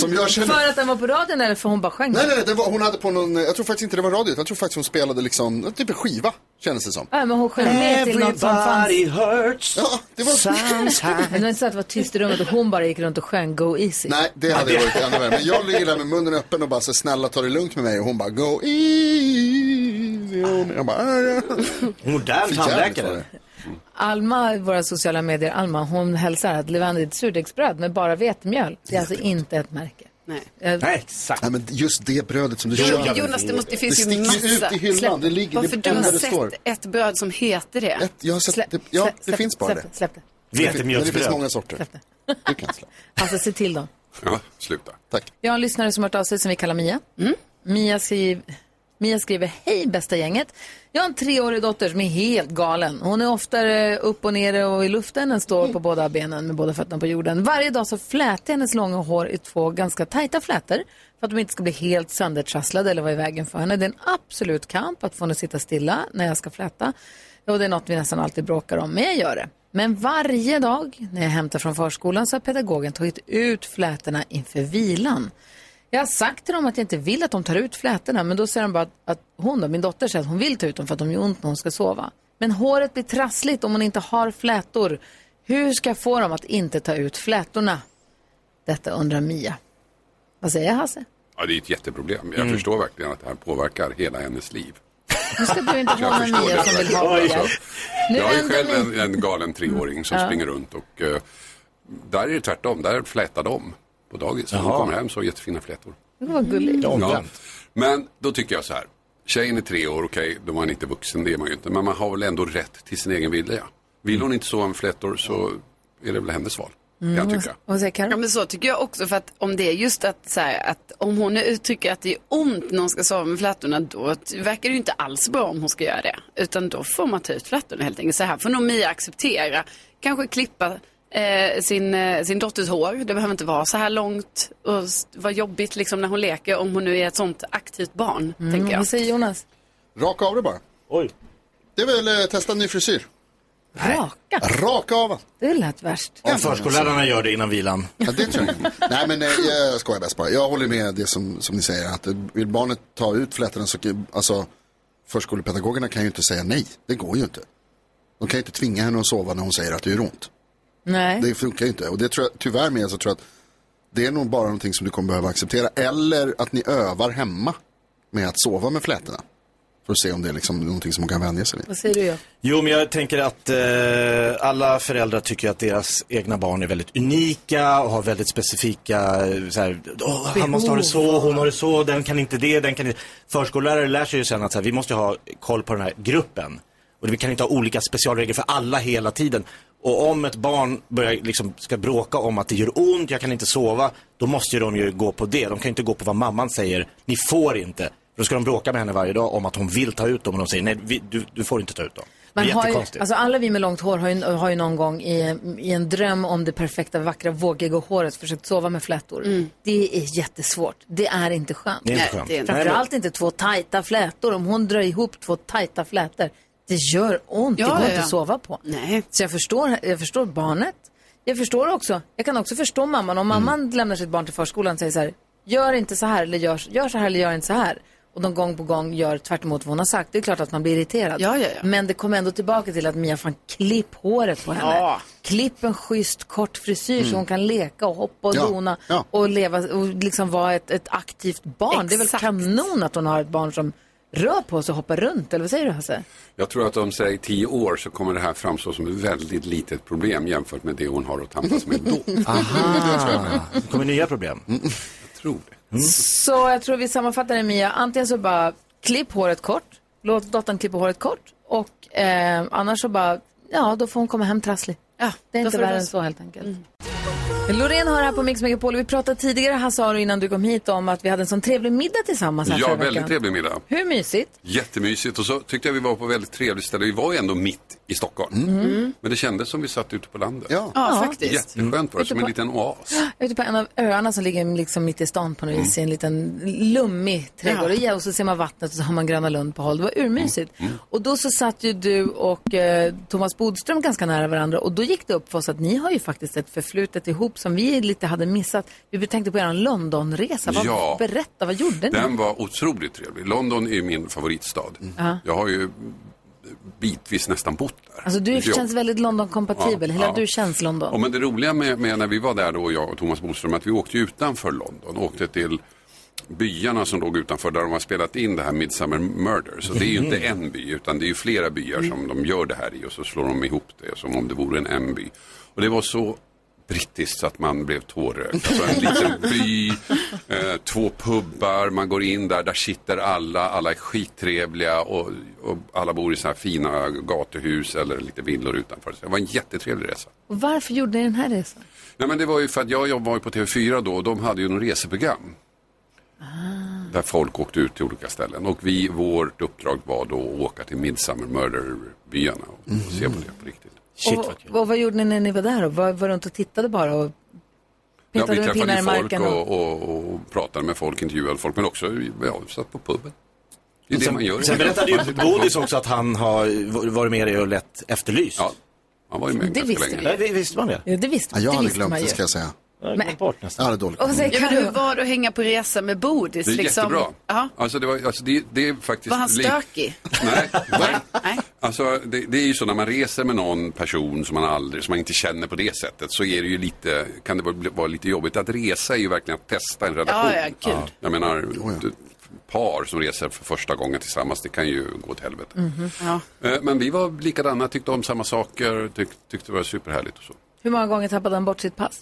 S2: Som jag känner-
S1: För att den var på radion eller för hon bara sjöng?
S2: Nej, nej, nej det var, hon hade på någon, jag tror faktiskt inte det var radio, utan jag tror faktiskt hon spelade liksom, typ en skiva, kändes det som.
S1: Ja, men hon sjöng med till något som fanns.
S2: Everybody
S3: hurts.
S2: Ja, det var-
S1: Men det var inte så att det var tyst i rummet och hon bara gick runt och sjöng Go Easy.
S2: Nej, det hade ju varit ännu värre. Men jag ligger där med munnen öppen och bara så snälla ta det lugnt med mig. Och hon bara go easy on me." Jag bara, "Ah, ja."
S3: Modern
S2: För jävligt
S3: tandläkare.
S2: var det.
S1: Alma, våra sociala medier, Alma, hon hälsar att Levander är ett surdegsbröd med bara vetemjöl. Det är alltså inte ett märke. Nej.
S3: exakt.
S2: Nej, men just det brödet som du
S4: Jo,
S2: köper.
S4: Jonas, det, måste, det finns ju
S2: sticker
S4: massa.
S2: ut i hyllan.
S4: Släpp.
S2: Det ligger,
S4: Varför
S2: det
S4: du
S2: är
S4: har
S2: där det
S4: sett
S2: står.
S4: ett bröd som heter det?
S2: Ett, jag har sett, det, ja, det
S1: släpp-
S2: finns bara
S1: släpp
S2: det.
S1: det, släpp det.
S2: Men det
S3: Vetemjölsbröd.
S2: finns många sorter.
S1: Alltså se till dem.
S17: Ja, sluta.
S2: Tack.
S1: Vi har en lyssnare som har hört av sig som vi kallar Mia. Mia, skriv, Mia skriver, hej bästa gänget. Jag har en treårig dotter som är helt galen. Hon är oftare upp och ner och i luften än står på båda benen med båda fötterna på jorden. Varje dag så flätar jag hennes långa hår i två ganska tajta flätor för att de inte ska bli helt söndertrasslade eller vara i vägen för henne. Det är en absolut kamp att få henne att sitta stilla när jag ska fläta. Och det är något vi nästan alltid bråkar om, men jag gör det. Men varje dag när jag hämtar från förskolan så har pedagogen tagit ut flätorna inför vilan. Jag har sagt till dem att jag inte vill att de tar ut flätorna, men då säger de bara att, att hon, då, min dotter, säger att hon vill ta ut dem för att de gör ont när hon ska sova. Men håret blir trassligt om hon inte har flätor. Hur ska jag få dem att inte ta ut flätorna? Detta undrar Mia. Vad säger jag, Hasse?
S17: Ja, det är ett jätteproblem. Jag
S2: Mm.
S17: förstår verkligen att det här påverkar hela hennes liv.
S1: Nu ska du inte
S17: Jag
S1: ha någon
S17: förstår
S1: Mia
S17: det
S1: som vill
S17: verkligen.
S1: ha hjälp. Nu
S17: jag är ju
S1: vänder
S17: själv
S1: vi-
S17: en, en galen treåring som
S1: Ja.
S17: springer runt och eh, där är det tvärtom. Där flätar de på dagis. När De
S3: Jaha.
S17: kommer hem så har jättefina flätor.
S1: Det var gulligt.
S17: Men då tycker jag så här. Tjejen är tre år, okej, då var han inte vuxen, det är man ju inte. Men man har väl ändå rätt till sin egen vilja.
S2: Mm.
S17: Vill hon inte sova med flätor så är det väl hennes val. Mm. Jag tycker.
S1: Vad säger Karin?
S4: Ja, men så tycker jag också. För att om det är just att, så här, att om hon uttrycker att det är ont när hon ska sova med flätorna, då t- verkar det ju inte alls bra om hon ska göra det. Utan då får man ta ut flätorna helt enkelt. Så här får nog Mia acceptera. Kanske klippa eh, sin, eh, sin dotters hår. Det behöver inte vara så här långt och s- vara jobbigt liksom när hon leker, om hon nu är ett sånt aktivt barn, tänker jag.
S1: Vad säger Jonas?
S2: Raka av det bara.
S3: Oj.
S2: Det är väl eh, testa en ny frisyr.
S1: Raka?
S2: Raka av.
S1: Det lät värst.
S3: Om förskollärarna gör det innan vilan.
S2: Ja, det tror jag. inte. Nej, men eh, jag skojar bäst bara. Jag håller med det som, som ni säger. Att eh, vill barnet ta ut flätorna så alltså, förskolepedagogerna kan ju inte säga nej. Det går ju inte. De kan ju inte tvinga henne att sova när hon säger att det gör ont.
S1: Nej.
S2: Det funkar ju inte. Och det tror jag, tyvärr med så tror jag att det är nog bara någonting som du kommer behöva acceptera. Eller att ni övar hemma med att sova med flätorna. För att se om det är liksom någonting som hon kan vänja sig vid.
S1: Vad säger du? Jag?
S3: Jo, men jag tänker att eh, alla föräldrar tycker att deras egna barn är väldigt unika och har väldigt specifika, eh, så här, "Åh, han måste ha det så, hon har det så, den kan inte det, den kan inte. Förskollärare lär sig ju sen att så här, vi måste ha koll på den här gruppen. Och vi kan inte ha olika specialregler för alla hela tiden. Och om ett barn börjar, liksom, ska bråka om att det gör ont, jag kan inte sova, då måste ju de ju gå på det. De kan ju inte gå på vad mamman säger, ni får inte. Då ska de bråka med henne varje dag om att hon vill ta ut dem och de säger nej, vi, du, du får inte ta ut dem.
S1: Man
S3: det är
S1: har ju,
S3: jättekonstigt.
S1: alltså alla vi med långt hår har ju, har ju någon gång i, i en dröm om det perfekta, vackra, vågiga håret försökt sova med flätor. Det är jättesvårt. Det är inte skönt.
S3: Det är inte Nej, skönt. det är inte-
S1: Framförallt inte två tajta flätor. Om hon drar ihop två tajta flätor, det gör ont.
S4: Ja,
S1: det går
S4: ja,
S1: inte
S4: ja.
S1: att sova på.
S4: Nej.
S1: Så jag förstår, jag förstår barnet. Jag förstår också, jag kan också förstå mamman. Om mamman
S4: Mm.
S1: lämnar sitt barn till förskolan och säger så här, gör inte så här eller gör, gör så här eller gör inte så här. Och de gång på gång gör tvärt emot vad hon har sagt. Det är klart att man blir irriterad.
S4: Ja, ja, ja.
S1: Men det kom ändå tillbaka till att Mia, fan klipp håret på henne.
S4: Ja.
S1: Klipp en schysst kort frisyr så
S4: Mm.
S1: hon kan leka och hoppa och
S4: Ja,
S1: dona
S4: ja.
S1: och leva och liksom vara ett, ett aktivt barn. Det är väl kanon att hon har ett barn som rör på sig och hoppar runt, eller vad säger du Hasse?
S17: Jag tror att om säg tio år så kommer det här framstå som ett väldigt litet problem jämfört med det hon har att tampas med då.
S3: Aha. Det kommer nya problem.
S17: Jag tror det.
S1: Så jag tror vi sammanfattar det Mia. Antingen så bara klipp håret kort, låt dottern klippa håret kort och eh, annars så bara, ja då får hon komma hem trasslig. Ja, det är
S4: då får Mm. det
S1: inte värre
S4: vara
S1: än
S4: så.
S1: så helt enkelt. Loreen har här på Mix Megapol. Vi pratade tidigare, Hasse Aro, innan du kom hit om att vi hade en sån trevlig middag tillsammans här
S17: Ja,
S1: förra
S17: väldigt
S1: veckan.
S17: trevlig middag.
S1: Hur mysigt?
S17: Jättemysigt och så tyckte jag vi var på väldigt trevligt ställe. Vi var ju ändå mitt i Stockholm.
S1: Mm.
S17: Men det kändes som vi satt ute på landet. Ja,
S1: Ja, faktiskt.
S17: Jätteskönt var det,
S1: Ute
S17: som en
S1: på-
S17: liten oas.
S1: Ute typ på en av öarna som ligger liksom mitt i stan på något
S17: Mm.
S1: vis i en liten lummig trädgård. Ja. Och så ser man vattnet och så har man Gröna Lund på håll. Det var urmysigt.
S17: Mm.
S1: Och då så satt ju du och eh, Thomas Bodström ganska nära varandra och då gick det upp för oss att ni har ju faktiskt ett förflutet ihop som vi lite hade missat. Vi tänkte på er Londonresa. Vad,
S17: Ja.
S1: Berätta, vad gjorde ni?
S17: Den var otroligt trevlig. London är ju min favoritstad.
S1: Mm. Ja.
S17: Jag har ju bitvis nästan bott där.
S1: Alltså du
S17: Mitt jobb.
S1: känns väldigt London-kompatibel.
S17: Ja,
S1: Hela
S17: ja.
S1: du känns London.
S17: Ja, men det roliga med, med när vi var där då, jag och Thomas Bodström, att vi åkte ju utanför London. Åkte till byarna som låg utanför där de har spelat in det här Midsummer Murder. Så det är ju inte en by utan det är ju flera byar som de gör det här i och så slår de ihop det som om det vore en, en by. Och det var så brittiskt så att man blev tårögd. Alltså en liten by, eh, två pubbar, man går in där, där sitter alla, alla är skittrevliga och, och alla bor i så här fina gatuhus eller lite villor utanför. Så det var en jättetrevlig resa.
S1: Och varför gjorde ni den här resan?
S17: Nej men det var ju för att jag jobbade ju på TV4 då och de hade ju något reseprogram.
S1: Ah.
S17: Där folk åkte ut till olika ställen och vi, vårt uppdrag var då att åka till Midsummer Murder-byarna och
S1: Mhm.
S17: se på det på riktigt.
S1: och, och vad gjorde ni när ni var där då? Var, var runt och tittade bara? Och...
S17: Ja, vi
S1: Petade du pinnar
S17: träffade
S1: i
S17: ju folk
S1: marken
S17: och, och, och pratade med folk, intervjuade folk men också ja, satt på puben. Det är det
S3: sen,
S17: man gör.
S3: sen berättade ju Bodis också att han har varit med i och lett Efterlyst. Ja,
S17: han var ju
S1: med Det ganska visste länge. vi.
S3: Nej, det, visste man det?
S1: Ja, det visste,
S3: Ja, jag
S1: det
S3: hade
S1: visste
S3: glömt
S1: man
S3: det,
S1: ju.
S3: ska jag
S2: säga.
S1: Men,
S2: Ja, det är dåligt.
S1: Och vad säger
S4: Ja, men hur
S1: Carro?
S4: var det att hänga på resa med Bodis?
S17: Det är
S4: liksom?
S17: jättebra.
S4: Ja.
S17: Alltså det, var, alltså det, det är faktiskt...
S4: Var han
S17: li-
S4: stökig?
S17: Alltså, det, det är ju så när man reser med någon person som man aldrig, som man inte känner på det sättet så är det ju lite, kan det vara- vara lite jobbigt. Att resa är ju verkligen att testa en relation.
S4: Ja, ja, kul.
S17: Jag menar, du- par som reser för första gången tillsammans, det kan ju gå åt helvete.
S4: Mm-hmm. Ja.
S17: Eh, Men vi var likadana, tyckte om samma saker, tyck, tyckte det var superhärligt och så.
S1: Hur många gånger tappade han bort sitt pass?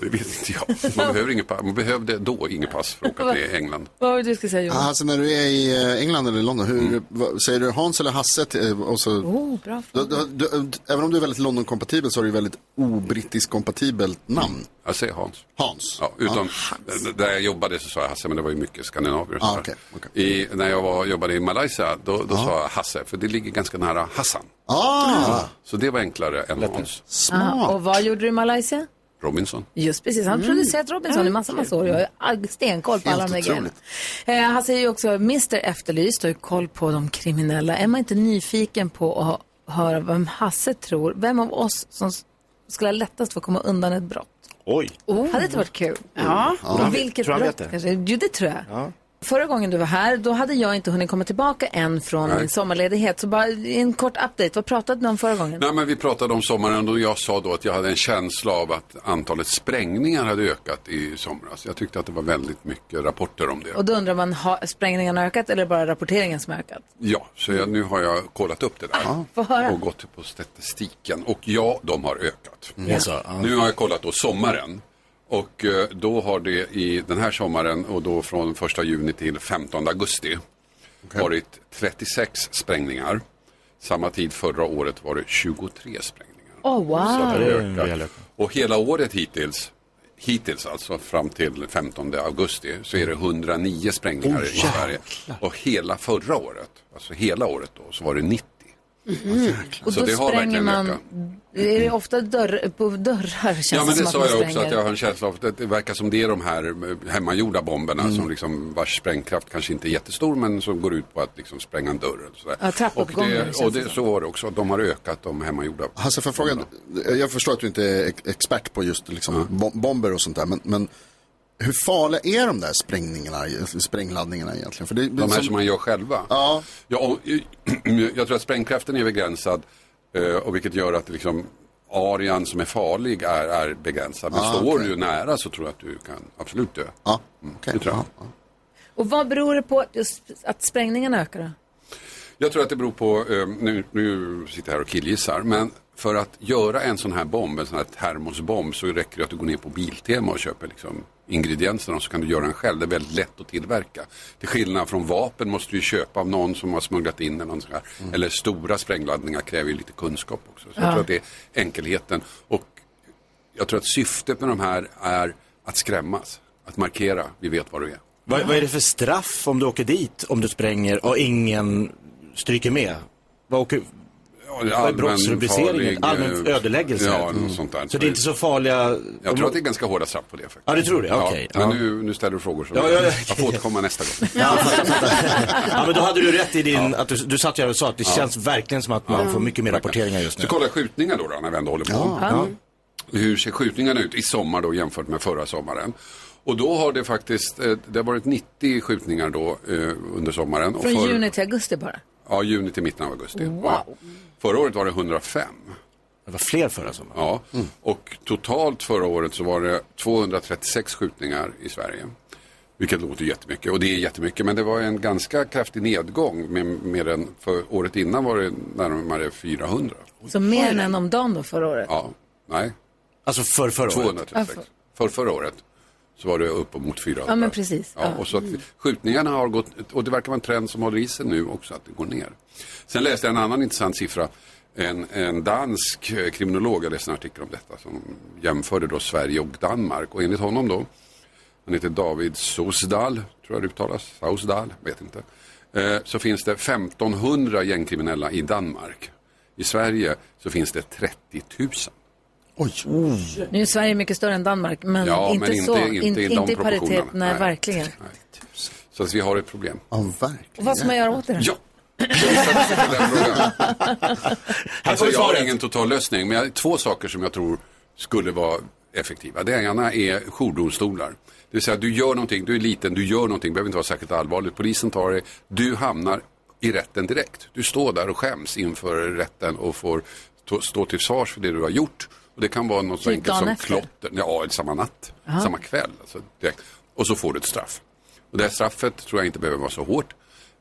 S17: Det vet inte jag. Man, behöver inget pass. Man behövde då inget pass för att åka till England.
S1: Vad var det du skulle säga Jonas?
S2: Alltså när du är i eh, England eller London, hur,
S17: Mm.
S2: vad- säger du Hans eller Hasse? till- eh, Och så,
S1: Oh, bra
S2: du, du, du, även om du är väldigt London-kompatibel så har du ju väldigt obrittisk kompatibelt namn.
S17: Jag säger Hans.
S2: Hans?
S17: Ja, utom, Där jag jobbade så sa jag Hasse, men det var ju mycket skandinavier. och
S2: Ah,
S17: sådär.
S2: okej,
S17: I, när jag var, jobbade i Malaysia, då, då sa jag Hasse, för det ligger ganska nära Hassan.
S2: Ah.
S17: Så det var enklare än Hans.
S1: Ah, och vad gjorde du i Malaysia?
S17: Robinson.
S1: Just precis, han har producerat Robinson i massa, massa år. Jag har ag- stenkoll på
S17: Mm. Helt
S1: alla de där grejerna.
S17: otroligt.
S1: Eh, han säger ju också Mr Efterlyst och har ju koll på de kriminella. Är man inte nyfiken på att hö- höra vem Hasse tror, vem av oss som s- skulle ha lättast för att komma undan ett brott?
S3: Oj.
S1: Hade inte varit kul?
S3: Oh. Ja. Ja.
S1: Och vilket
S3: Tror han
S1: brott
S3: vet det?
S1: kanske? Jo, det tror jag.
S3: Ja.
S1: Förra gången du var här, då hade jag inte hunnit komma tillbaka än från
S17: Nej.
S1: min sommarledighet. Så bara en kort update, vad pratade ni om förra gången?
S17: Nej, men vi pratade om sommaren och jag sa då att jag hade en känsla av att antalet sprängningar hade ökat i somras. Jag tyckte att det var väldigt mycket rapporter om det.
S1: Och då undrar man, har sprängningarna ökat eller bara rapporteringen som har ökat? Ah.
S17: Ja, så jag, nu har jag kollat upp det där
S1: Få höra.
S17: och gått på statistiken. Och ja, de har ökat.
S3: Mm. Ja, så, ja.
S17: Nu har jag kollat då sommaren. Och eh, då har det i den här sommaren och då från 1 juni till 15 augusti varit 36 sprängningar. Samma tid förra året var det 23 sprängningar.
S1: Oh,
S17: Så det
S1: wow.
S17: ökar. Och hela året hittills, hittills alltså fram till 15 augusti, så är det 109 sprängningar
S15: Oh,
S17: i Sverige. Och hela förra året, alltså hela året då, så var det 90.
S1: Mm-hmm. Och
S17: Så
S1: då
S17: det har
S1: spränger
S17: verkligen
S1: man,
S17: ökat.
S1: är det ofta dörr, på dörrar känns
S17: ja men det
S1: som
S17: sa
S1: att man
S17: jag
S1: spränger?
S17: också att jag har en känsla av att det- det verkar som det är de här eh, hemmagjorda bomberna
S1: Mm.
S17: som liksom vars sprängkraft kanske inte är jättestor men som går ut på att liksom spränga en dörr. Och, sådär.
S1: Ja,
S17: och,
S1: trappuppgångar känns
S17: det, och det,
S1: som.
S17: så var det också, de har ökat de hemmagjorda.
S2: Hasse, får jag fråga, jag förstår att du inte är ex- expert på just liksom, bom- bomber och sånt där, men, men hur farliga är de där sprängningarna, sprängladdningarna egentligen? För det,
S17: De här som man gör själva. Ja. och, jag tror att sprängkraften är begränsad eh, och vilket gör att liksom arean som är farlig är, är begränsad. Men
S2: Ah,
S17: står
S2: okej.
S17: du nära så tror jag att du kan absolut dö.
S2: Ja,
S17: Mm, det tror jag.
S1: Och vad beror det på just att sprängningarna ökar då?
S17: Jag tror att det beror på, eh, nu, nu sitter jag här och killgissar, men för att göra en sån här bomb, en sån här termosbomb, så räcker det att du går ner på Biltema och köper liksom ingredienserna och så kan du göra den själv. Det är väldigt lätt att tillverka. Till skillnad från vapen måste du ju köpa av någon som har smugglat in eller någon sån här. Eller stora sprängladdningar kräver ju lite kunskap också. Så jag
S15: Ja.
S17: tror att det är enkelheten. Och jag tror att syftet med de här är att skrämmas, att markera, vi vet vad du är.
S3: Vad, vad är det för straff om du åker dit, om du spränger och ingen stryker med? Vad åker... Vad är
S17: allmän
S3: brottsrubriceringen?
S17: farlig,
S3: Allmän
S17: eh,
S3: ödeläggelse?
S17: ja, något sånt där.
S3: Så det är inte så farliga...
S17: Jag tror att det är ganska hårda straff på det faktiskt.
S3: Ja, du tror det? Okej.
S17: Ja, men
S3: Ja.
S17: nu, nu ställer du frågor så
S3: Ja, ja, ja.
S17: jag får återkomma nästa gång.
S3: Ja, men då hade du rätt i din... Att du, du satt ju här och sa att det känns verkligen som att man
S17: Ja.
S3: får mycket mer rapporteringar just nu.
S17: Så kolla skjutningar då, då när vi ändå håller på.
S3: Ja.
S17: Hur ser skjutningarna ut i sommar då jämfört med förra sommaren? Och då har det faktiskt, eh, det har varit 90 skjutningar då eh, under sommaren. och
S1: Från
S17: för-
S1: juni till augusti bara?
S17: Ja, juni till mitten av augusti.
S1: Wow.
S17: Ja. Förra året var det 105.
S3: Det var fler förra sommaren.
S17: Ja, och totalt förra året så var det 236 skjutningar i Sverige. Vilket låter jättemycket och det är jättemycket men det var en ganska kraftig nedgång. Med, med den, för året innan var det närmare 400.
S1: Så mer än en om dagen då förra året?
S17: Ja, nej.
S3: Alltså för förra året?
S17: 236.
S1: Ja,
S17: För förra året så var det uppemot 400.
S1: Ja, men precis.
S17: Ja, och så att skjutningarna har gått, och det verkar vara en trend som håller i sig nu också, att det går ner. Sen läste jag en annan intressant siffra. En, en dansk eh, kriminolog, jag läste en artikel om detta, som jämförde då Sverige och Danmark. Och enligt honom då, han heter David Sosdal, tror jag det uttalas, Sausdal, vet inte. Eh, så finns det 1500 gängkriminella i Danmark. I Sverige så finns det 30 000.
S1: Nu är Sverige mycket större än Danmark, men,
S17: Ja,
S1: inte,
S17: men inte-
S1: så.
S17: inte i
S1: In,
S17: de
S1: inte i paritet,
S17: proportionerna.
S1: nej,
S17: Nej.
S1: verkligen.
S17: Så att vi har ett problem.
S2: Ja, verkligen.
S1: Och vad ska man göra åt det då?
S17: Ja. Alltså, jag har ingen total lösning, men jag, två saker som jag tror skulle vara effektiva. Det ena är jourdomstolar. Det vill säga, du gör någonting, du är liten, du gör någonting, behöver inte vara särskilt allvarligt. Polisen tar dig, du hamnar i rätten direkt. Du står där och skäms inför rätten och får to- stå till svars för det du har gjort. Och det kan vara något så
S15: Typ
S17: enkelt
S15: dagen
S17: som
S15: efter?
S17: klotter, ja, eller samma natt,
S15: Aha.
S17: samma kväll. Alltså, direkt. Och så får du ett straff. Och det här straffet tror jag inte behöver vara så hårt.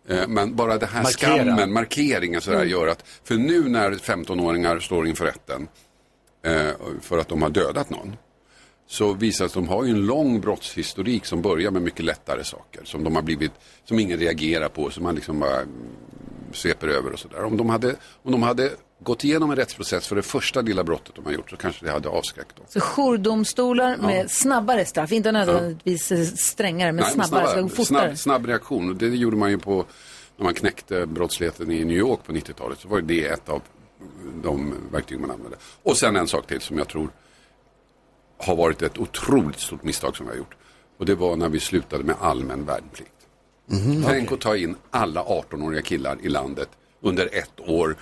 S17: Eh, Men bara det här
S15: Markera.
S1: Mm.
S17: skammen, markeringen sådär gör att, för nu när 15-åringar står inför rätten eh, för att de har dödat någon. Så visar det sig att de har ju en lång brottshistorik som börjar med mycket lättare saker. Som de har blivit, som ingen reagerar på, som man liksom bara mm, sveper över och sådär. Om, de hade- om de hade gått igenom en rättsprocess för det första lilla brottet de har gjort så kanske det hade avskräckt dem.
S1: Så jourdomstolar med
S17: Ja.
S1: snabbare straff, inte nödvändigtvis eh, strängare, men
S17: Nej,
S1: snabbare, så det går fortare.
S17: Snabb, snabb reaktion. Och Det gjorde man ju på när man knäckte brottsligheten i New York på 90-talet. Så var ju det ett av de verktyg man använde. Och sen en sak till som jag tror har varit ett otroligt stort misstag som vi har gjort. Och det var när vi slutade med allmän värnplikt. Tänk att ta in alla 18-åriga killar i landet under ett år,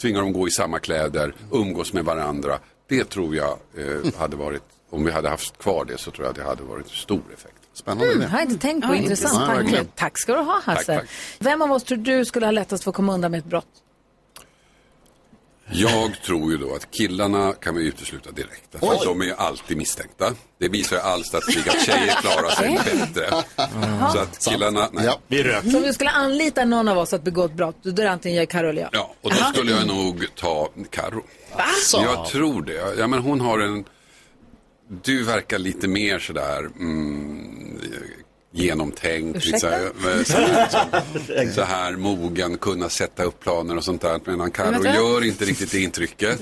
S17: tvinga dem gå i samma kläder, umgås med varandra. Det tror jag eh, hade varit, om vi hade haft kvar det så tror jag att det hade varit stor effekt. Spännande.
S1: Mm, har jag inte tänkt på.
S17: Mm.
S1: Intressant
S17: Ja,
S1: tanke.
S17: verkligen.
S1: Tack ska du ha, Hasse.
S17: Tack, tack.
S1: Vem av oss tror du skulle ha lättast för att komma undan med ett brott?
S17: Jag tror ju då att killarna kan vi utesluta direkt. För de är ju alltid misstänkta. Det visar ju all statistik att tjejer klarar sig bättre. Så att killarna, nej.
S3: Vi rök.
S1: Så om du skulle anlita någon av oss att begå ett brott, då är det antingen jag, Carro eller jag.
S17: Ja, och då skulle jag nog ta Karo.
S1: Asså?
S17: Jag tror det. Ja, men hon har en... Du verkar lite mer sådär mm, genomtänkt. Lite
S15: Ursäkta?
S17: så, här, eh, så, här, som- så här mogen, kunna sätta upp planer och sånt där. Medan Karo
S15: Men vänta.
S17: gör inte riktigt det intrycket.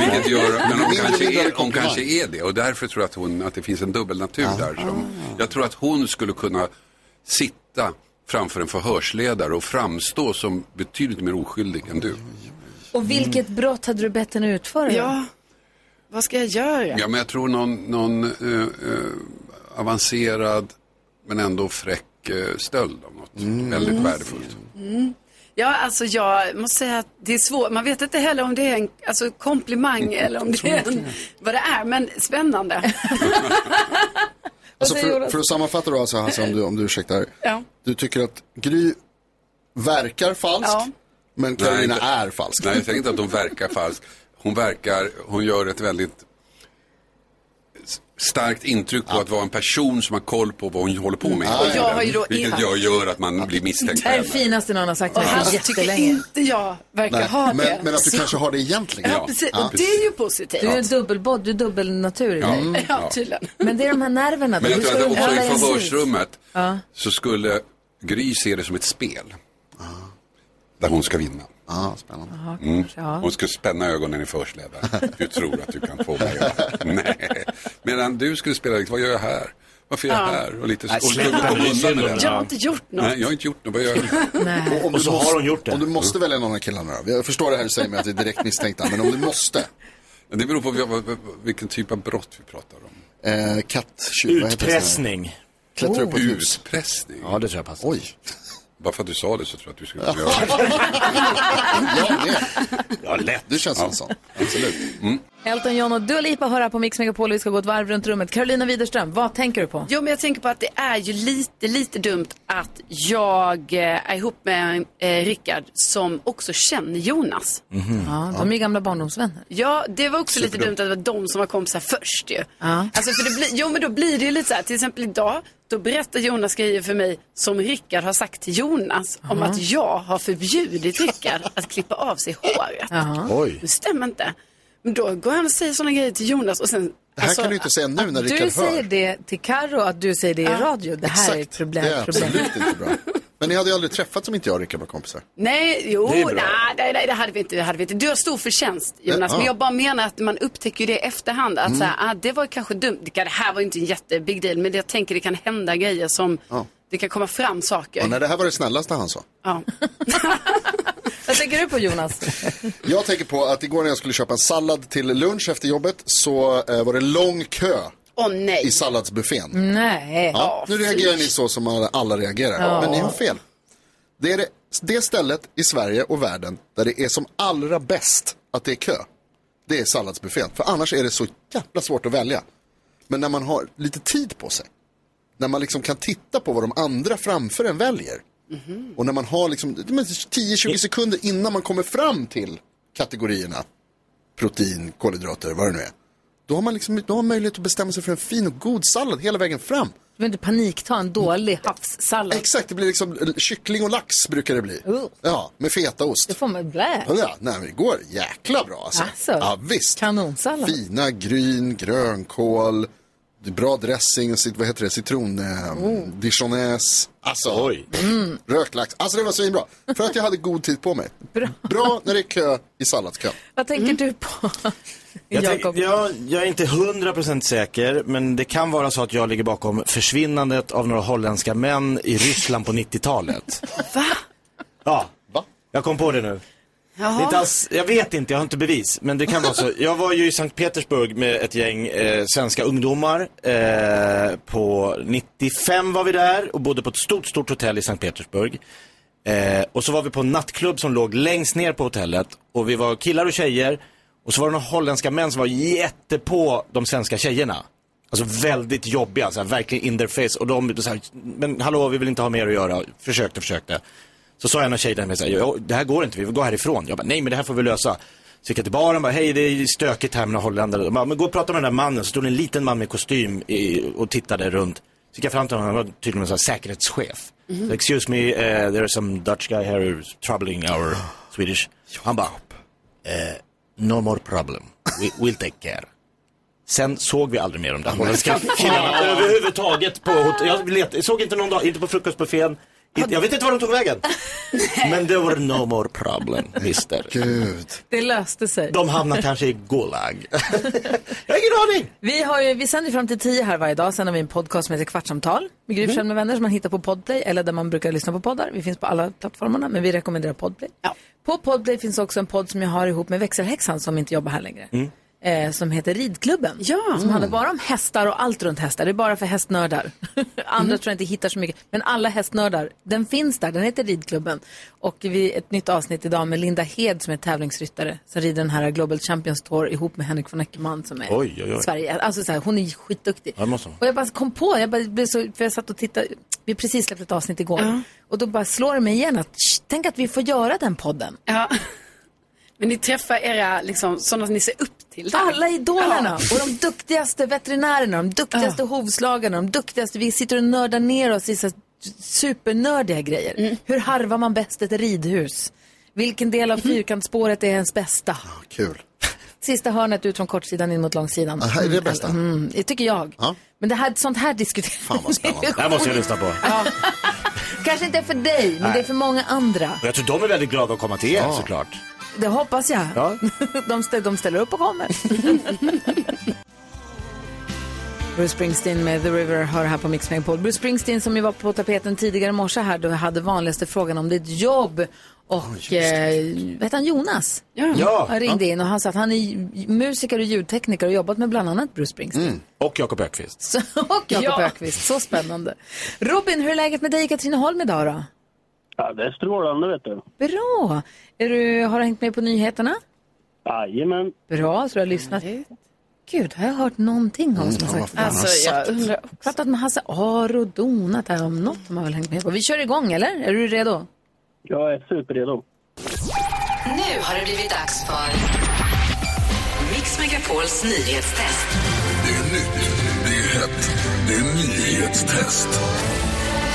S17: Vilket gör, men hon
S15: Mindre
S17: kanske,
S15: vidare
S17: är, hon
S15: komplimang.
S17: kanske är det och därför tror jag att, hon, att det finns en dubbelnatur där. Som, jag tror att hon skulle kunna sitta framför en förhörsledare och framstå som betydligt mer oskyldig än du.
S1: Och vilket
S17: Mm.
S1: brott hade du bett henne utföra? Ja,
S4: vad ska jag göra?
S17: Ja, men jag tror någon, någon eh, eh, avancerad men ändå fräck eh, stöld av något väldigt värdefullt.
S4: Mm. Ja, alltså jag måste säga att det är svårt. Man vet inte heller om det är en alltså, komplimang eller om det är en, vad det är, men spännande.
S2: Alltså
S4: säger
S2: för,
S4: Jonas?
S2: för att sammanfatta då, alltså, Hasse, om, du, om du ursäktar.
S4: Ja.
S2: Du tycker att Gry verkar falsk,
S4: Ja.
S2: men Karolina
S17: inte-
S2: är falsk.
S17: Nej, jag tänker inte att hon verkar falsk. Hon verkar, hon gör ett väldigt s- starkt intryck på att vara en person som har koll på vad hon håller på med.
S1: Ja,
S17: hela
S1: ja. Jag har ju
S17: tiden.
S1: då-
S17: Vilket gör, gör att man blir misstänkt.
S1: Det här är det finaste någon har sagt till mig på jättelänge.
S4: Inte jag verkar
S17: Nej,
S4: ha
S17: men-
S4: det.
S17: men att du
S4: Så-
S2: Kanske har det egentligen.
S4: Ja, precis. Och det är ju positivt.
S1: Du är dubbelbodd, du är dubbelnatur i
S17: Ja.
S1: dig.
S17: Mm. Ja,
S4: tydligen.
S1: Men det är de här nerverna. då.
S17: Men jag
S1: Hur
S17: tror
S1: ska de
S17: att också
S1: hålla
S17: i
S1: i en sits?
S17: förhörsrummet
S1: Ja.
S17: så skulle Gry se det som ett spel. Där hon ska vinna.
S2: Ah, spännande.
S17: Mm.
S15: ja.
S17: Hon ska spänna ögonen i förhörsledaren. Du tror att du kan få mig att... Nej. Medan du skulle spela, liksom, vad gör jag här? Varför är jag
S4: Ja.
S17: här? Och lite
S4: Nej, släpp
S17: och- och- och-
S4: den.
S17: med det.
S4: Jag har inte gjort något.
S17: Nej, jag har inte gjort något. Vad gör jag?
S2: Och, om
S17: Och
S2: du
S17: så har
S2: måste-
S17: hon gjort det.
S2: Om du måste välja någon av killarna då? Jag förstår det här du säger med att det är direkt misstänkta, men om du måste?
S17: Det beror på vad- vad- vilken typ av brott vi pratar om.
S2: Eh, kattjuv, vad heter det?
S17: Utpressning.
S2: Klättra upp på ett hus.
S17: Utpressning? Ja,
S3: det tror jag passar.
S2: Oj.
S17: Bara för att du sa det så tror jag att du skulle kunna göra det.
S3: Ja, lätt.
S2: Du känns som en sån.
S17: Absolut. Mm.
S1: Elton John och Dua Lipa hör här på Mix Megapol. Vi ska gå ett varv runt rummet. Carolina Widerström, vad tänker du på?
S2: Mm.
S4: Jo, men jag tänker på att det är ju lite, lite dumt att jag eh, är ihop med eh, Rickard som också känner Jonas.
S2: Mm.
S1: Ja, de är ju gamla barndomsvänner.
S4: Ja, det var också lite dumt
S1: Superdumt.
S4: att det var de som var kompisar först ju.
S1: Ja.
S4: Alltså, för det blir, jo, men då blir det ju lite så här, till exempel idag, då berättar Jonas grejer för mig som Rickard har sagt till Jonas om
S1: Jaha.
S4: att jag har förbjudit Rickard att klippa av sig håret.
S1: Jaha.
S2: Oj.
S4: Det stämmer inte. Men då går han och säger sådana grejer till Jonas och sen... alltså,
S2: Det här kan du inte säga nu när Rickard
S1: Alltså, Du
S2: hör.
S1: säger det till Karo att du säger det i radio. Det här är ett problem.
S2: Det är
S1: problem.
S2: absolut inte bra. Men ni hade ju aldrig träffats om inte jag och Rickard var kompisar.
S4: Nej, jo,
S2: Det är
S4: nej,
S2: bra.
S4: nej, nej, det hade vi inte. Det hade vi inte. Du har stor förtjänst, Jonas.
S2: Ja.
S4: Men jag bara menar att man upptäcker ju det i efterhand. Att
S2: Mm.
S4: så här, ah, det var kanske dumt. Det kan- det här var ju inte en jättebig deal, men jag tänker det kan hända grejer som,
S2: Ja.
S4: det kan komma fram saker.
S2: Och när det här var det snällaste han sa.
S4: Ja.
S1: Vad tänker du på Jonas?
S2: Jag tänker på att igår när jag skulle köpa en sallad till lunch efter jobbet så eh, var det lång kö
S4: Åh nej.
S2: i salladsbuffén.
S1: Nej.
S2: Ja, nu reagerar ni så som alla, alla reagerar.
S1: Ja.
S2: Men ni har fel. Det är det, det stället i Sverige och världen där det är som allra bäst att det är kö. Det är salladsbuffén. För annars är det så jävla svårt att välja. Men när man har lite tid på sig. När man liksom kan titta på vad de andra framför en väljer. Och när man har liksom det är 10-20 sekunder innan man kommer fram till kategorierna. Protein, kolhydrater, vad det nu är. Då har man liksom då har man möjlighet att bestämma sig för en fin och god sallad hela vägen fram.
S1: behöver inte panikta en dålig havssallad.
S2: Exakt, det blir liksom kyckling och lax brukar det bli. Ja, med fetaost.
S1: Oh. Det får man blä.
S2: Ja, nej, men det går jäkla bra alltså.
S1: Alltså.
S2: Ja, visst.
S1: Kanonsallad.
S2: Fina gryn, grönkål, bra dressing, cit- vad heter det, citron, eh,
S1: Mm.
S2: dijonäs. Alltså, Oj. rökt lax. Alltså det var svinbra. För att jag hade god tid på mig. Bra, när det är kö i salladskön.
S1: Vad tänker
S2: Mm.
S1: du på?
S3: Jag, tänk, jag, jag är inte 100% säker, men det kan vara så att jag ligger bakom försvinnandet av några holländska män i Ryssland på 90-talet.
S4: Va?
S3: Ja, jag kom på det nu. Det är inte alls, jag vet inte, jag har inte bevis. Men det kan vara så. Jag var ju i Sankt Petersburg med ett gäng eh, svenska ungdomar. Eh, på 95 var vi där och bodde på ett stort, stort hotell i Sankt Petersburg. Eh, och så var vi på en nattklubb som låg längst ner på hotellet. Och vi var killar och tjejer. Och så var det några holländska män som var jättepå de svenska tjejerna. Alltså väldigt jobbiga, så här, verkligen in their face. Och de så här, men hallå vi vill inte ha mer att göra. Försökte, försökte. Så sa jag en av tjejerna så här, "Jo, det här går inte, vi vill gå härifrån. Jag bara, nej men det här får vi lösa. Så gick jag till baren och bara, hej det är stökigt här med några holländare. De bara, men gå och prata med den där mannen. Så stod det en liten man med kostym i, och tittade runt. Så gick jag fram till honom, han var tydligen en sån här säkerhetschef.
S15: Mhm.
S3: Så, Excuse me, eh, there is some Dutch guy here who's troubling our Swedish. Han bara, eh, no more problem, We, we'll take care. Sen såg vi aldrig mer de där holländska killarna överhuvudtaget på hotell. Jag let, såg inte någon dag, inte på frukostbuffén. Inte, jag vet inte var de tog vägen. Men det var no more problem, mister.
S2: Gud.
S1: Det löste sig.
S3: De hamnar kanske i Gulag. Jag har ingen aning.
S1: Vi, har ju, vi sänder fram till tio här varje dag. Sen har vi en podcast som heter Kvartsamtal med Gry
S3: Mm.
S1: Forssell med vänner som man hittar på Podplay eller där man brukar lyssna på poddar. Vi finns på alla plattformarna men vi rekommenderar Podplay. På Podplay finns också en podd som jag har ihop med växelhäxan som inte jobbar här längre.
S3: Mm.
S1: Eh, som heter Ridklubben. Som handlar bara om hästar och allt runt hästar. Det är bara för hästnördar.
S3: Mm.
S1: Andra tror jag inte hittar så mycket. Men alla hästnördar, den finns där. Den heter Ridklubben. Och vi ett nytt avsnitt idag med Linda Hed som är tävlingsryttare. Som rider den här Global Champions Tour ihop med Henrik von Eckermann som är
S3: Oj, oj, oj.
S1: Sverige. Alltså så här, hon är ju skitduktig.
S3: Ja, det måste man.
S1: Och jag bara kom på, jag bara blev så, för jag satt och tittade, vi precis släppte ett avsnitt igår. Och då bara slår det mig igen att, "Shh, tänk att vi får göra den podden.
S4: Ja. Men ni träffar era, liksom, sådana som ni ser upp till där.
S1: Alla idolerna och de duktigaste veterinärerna, de duktigaste hovslagarna, de duktigaste, vi sitter och nördar ner oss i så här supernördiga grejer. Hur harvar man bäst ett ridhus? Vilken del av fyrkantsspåret är ens bästa?
S2: Kul.
S1: Sista hörnet ut från kortsidan in mot långsidan.
S2: Det här är det bästa.
S1: Mm, det tycker jag.
S2: Ja.
S1: Men det här, sånt här diskuterar Fan vad
S3: Det här måste jag lyssna på.
S1: Kanske inte för dig, men
S3: Nej.
S1: det är för många andra.
S3: Och jag tror de är väldigt glada att komma till er såklart.
S1: Det hoppas jag.
S3: Ja.
S1: De, stä- de ställer upp och kommer. Bruce Springsteen med The River hör här på Mix Megapol. Bruce Springsteen som ju var på tapeten tidigare i morse här då jag hade vanligaste frågan om ditt jobb. Och eh, vad heter han Jonas?
S4: Ja.
S3: Ja.
S1: Han ringde in och han sa att han är ju musiker och ljudtekniker och jobbat med bland annat Bruce Springsteen.
S3: Och Jakob Ökvist.
S1: Så, och Jakob
S3: Ja.
S1: Ökvist. Så spännande. Robin, hur är läget med dig i Katrineholm idag då?
S16: Ja, det är strålande vet du.
S1: Bra! Är du, har du hängt med på nyheterna?
S16: Jajamän.
S1: Bra, så du har lyssnat. Gud, har jag hört någonting om som har sagt det?
S16: Alltså, jag
S1: undrar också. Pratat med Hasse Aro och donat här om något de har väl hängt med på. Vi kör igång, eller? Är du redo?
S16: Jag är superredo.
S18: Nu har det blivit dags för Mix Megapols nyhetstest.
S15: Det är nytt, det är hett, det är nyhetstest.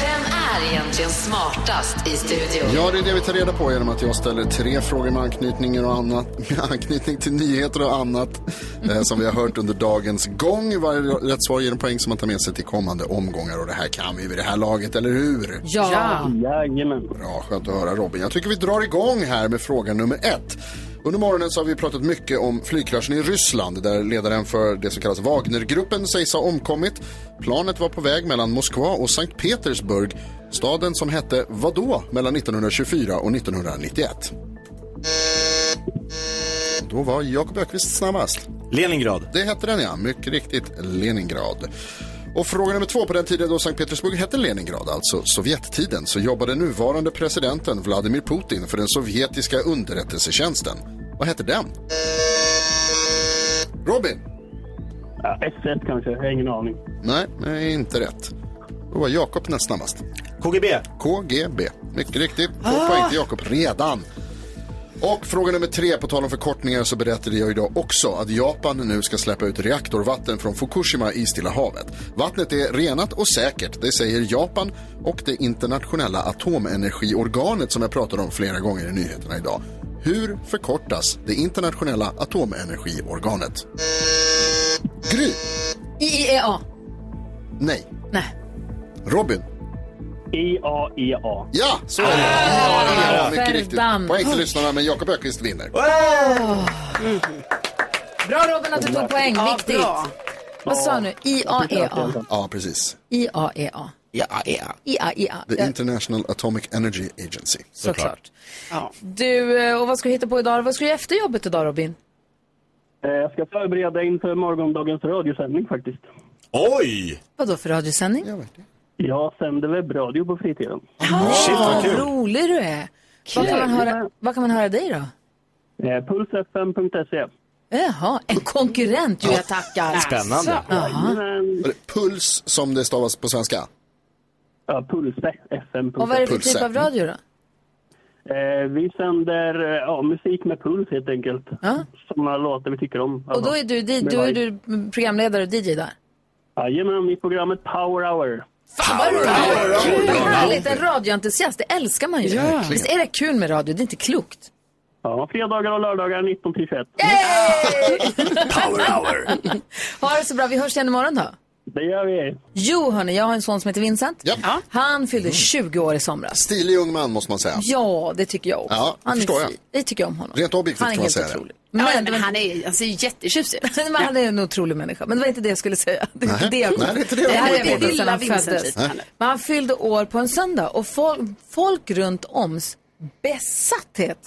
S18: Vem är egentligen smartast i studion?
S2: Ja, det är det vi tar reda på genom att jag ställer tre frågor med anknytning, och annat, med anknytning till nyheter och annat eh, som vi har hört under dagens gång. Varje rätt svar ger en poäng som man tar med sig till kommande omgångar och det här kan vi vid det här laget, eller hur?
S1: Ja. Ja.
S16: Jajamän.
S2: Bra, skönt att höra Robin. Jag tycker vi drar igång här med fråga nummer ett. Under morgonen så har vi pratat mycket om flygkraschen i Ryssland där ledaren för det som kallas Wagnergruppen sägs ha omkommit. Planet var på väg mellan Moskva och Sankt Petersburg, staden som hette vadå mellan 1924 och 1991? Då var Jakob Ökvist snabbast.
S3: Leningrad.
S2: Det hette den ja, mycket riktigt Leningrad. Och fråga nummer två, på den tiden då Sankt Petersburg hette Leningrad, alltså Sovjettiden, så jobbade nuvarande presidenten Vladimir Putin för den sovjetiska underrättelsetjänsten. Vad hette den? Robin?
S16: Ja, S1 kanske, jag har ingen aning.
S2: Nej, nej, inte rätt. Då var Jakob näst snabbast.
S3: KGB.
S2: KGB, mycket riktigt. Två
S16: Ah.
S2: poäng till Jakob redan. Och fråga nummer tre, på tal om förkortningar så berättade jag idag också att Japan nu ska släppa ut reaktorvatten från Fukushima i Stilla havet. Vattnet är renat och säkert, det säger Japan och det internationella atomenergiorganet som jag pratade om flera gånger i nyheterna idag. Hur förkortas det internationella atomenergiorganet? Gry?
S1: IEA.
S2: Nej.
S1: E Nej.
S2: Robin?
S16: IAEA.
S2: Ja, så är det. IAEA, mycket riktigt. Poäng till lyssnarna, men Jakob Ökvist vinner.
S1: Bra Robin att du tog poäng,
S4: Ja,
S1: viktigt.
S4: bra.
S1: Vad sa du? E IAEA.
S2: Ja, precis.
S1: IAEA.
S3: IAEA.
S1: IAEA.
S2: The
S1: Ja,
S2: International Atomic Energy Agency.
S1: Såklart. Du, eh, och vad ska du hitta på idag? Vad ska du göra efter jobbet idag Robin?
S16: Eh, Jag ska förbereda inför morgondagens radiosändning faktiskt.
S3: Oj!
S1: Vad då för radiosändning?
S16: Jag sänder webbradio på fritiden.
S3: Shit, vad
S1: Vad
S3: kul.
S1: rolig du är. Vad kan, man höra, vad kan man höra dig då?
S16: Eh, Pulsfm.se.
S1: Jaha, en konkurrent ju jag tackar.
S2: Spännande.
S1: Jaha.
S2: Var det Puls som det stavas på svenska?
S16: Ja, pulsfm.se.
S1: Och vad är det för typ av radio då?
S16: Eh, vi sänder eh, ja, musik med puls helt enkelt. Sådana låtar vi tycker om.
S1: Och då är du, di- då är du programledare och DJ där?
S16: Jajamän, i programmet Power Hour.
S1: Kul, vad härligt. En radioentusiast, det älskar man ju.
S16: Ja. Verkligen.
S1: Visst är det kul med radio? Det är inte klokt.
S16: Ja, fredagar och lördagar 19 till 21.
S3: Power hour.
S1: Ha det så bra, vi hörs igen imorgon då.
S16: Det gör vi.
S1: Jo, hörni, jag har en son som heter Vincent.
S2: Ja. Mm.
S1: Han fyllde 20 år i somras.
S2: Stilig ung man måste man säga.
S1: Ja, det tycker jag också.
S2: Ja, det
S1: han är
S2: förstår
S1: fin.
S2: jag.
S1: Det tycker jag om honom.
S2: Rent objektivt
S1: Han är
S2: kan man
S1: helt
S2: säga det.
S1: otrolig.
S4: Men, men han är, han ser ju jättetjusig ut.
S1: Men han är en otrolig människa. Men det var inte det jag skulle säga. Det är
S2: Nej.
S1: inte det jag
S2: Nej, det är inte det jag
S1: det här
S2: kommer
S1: är
S2: ihåg. typ.
S1: det
S2: Lilla
S1: sedan han
S2: Vincent
S1: föddes.
S2: lite.
S1: Nej. Men han fyllde år på en söndag och folk, folk runt oms besatthet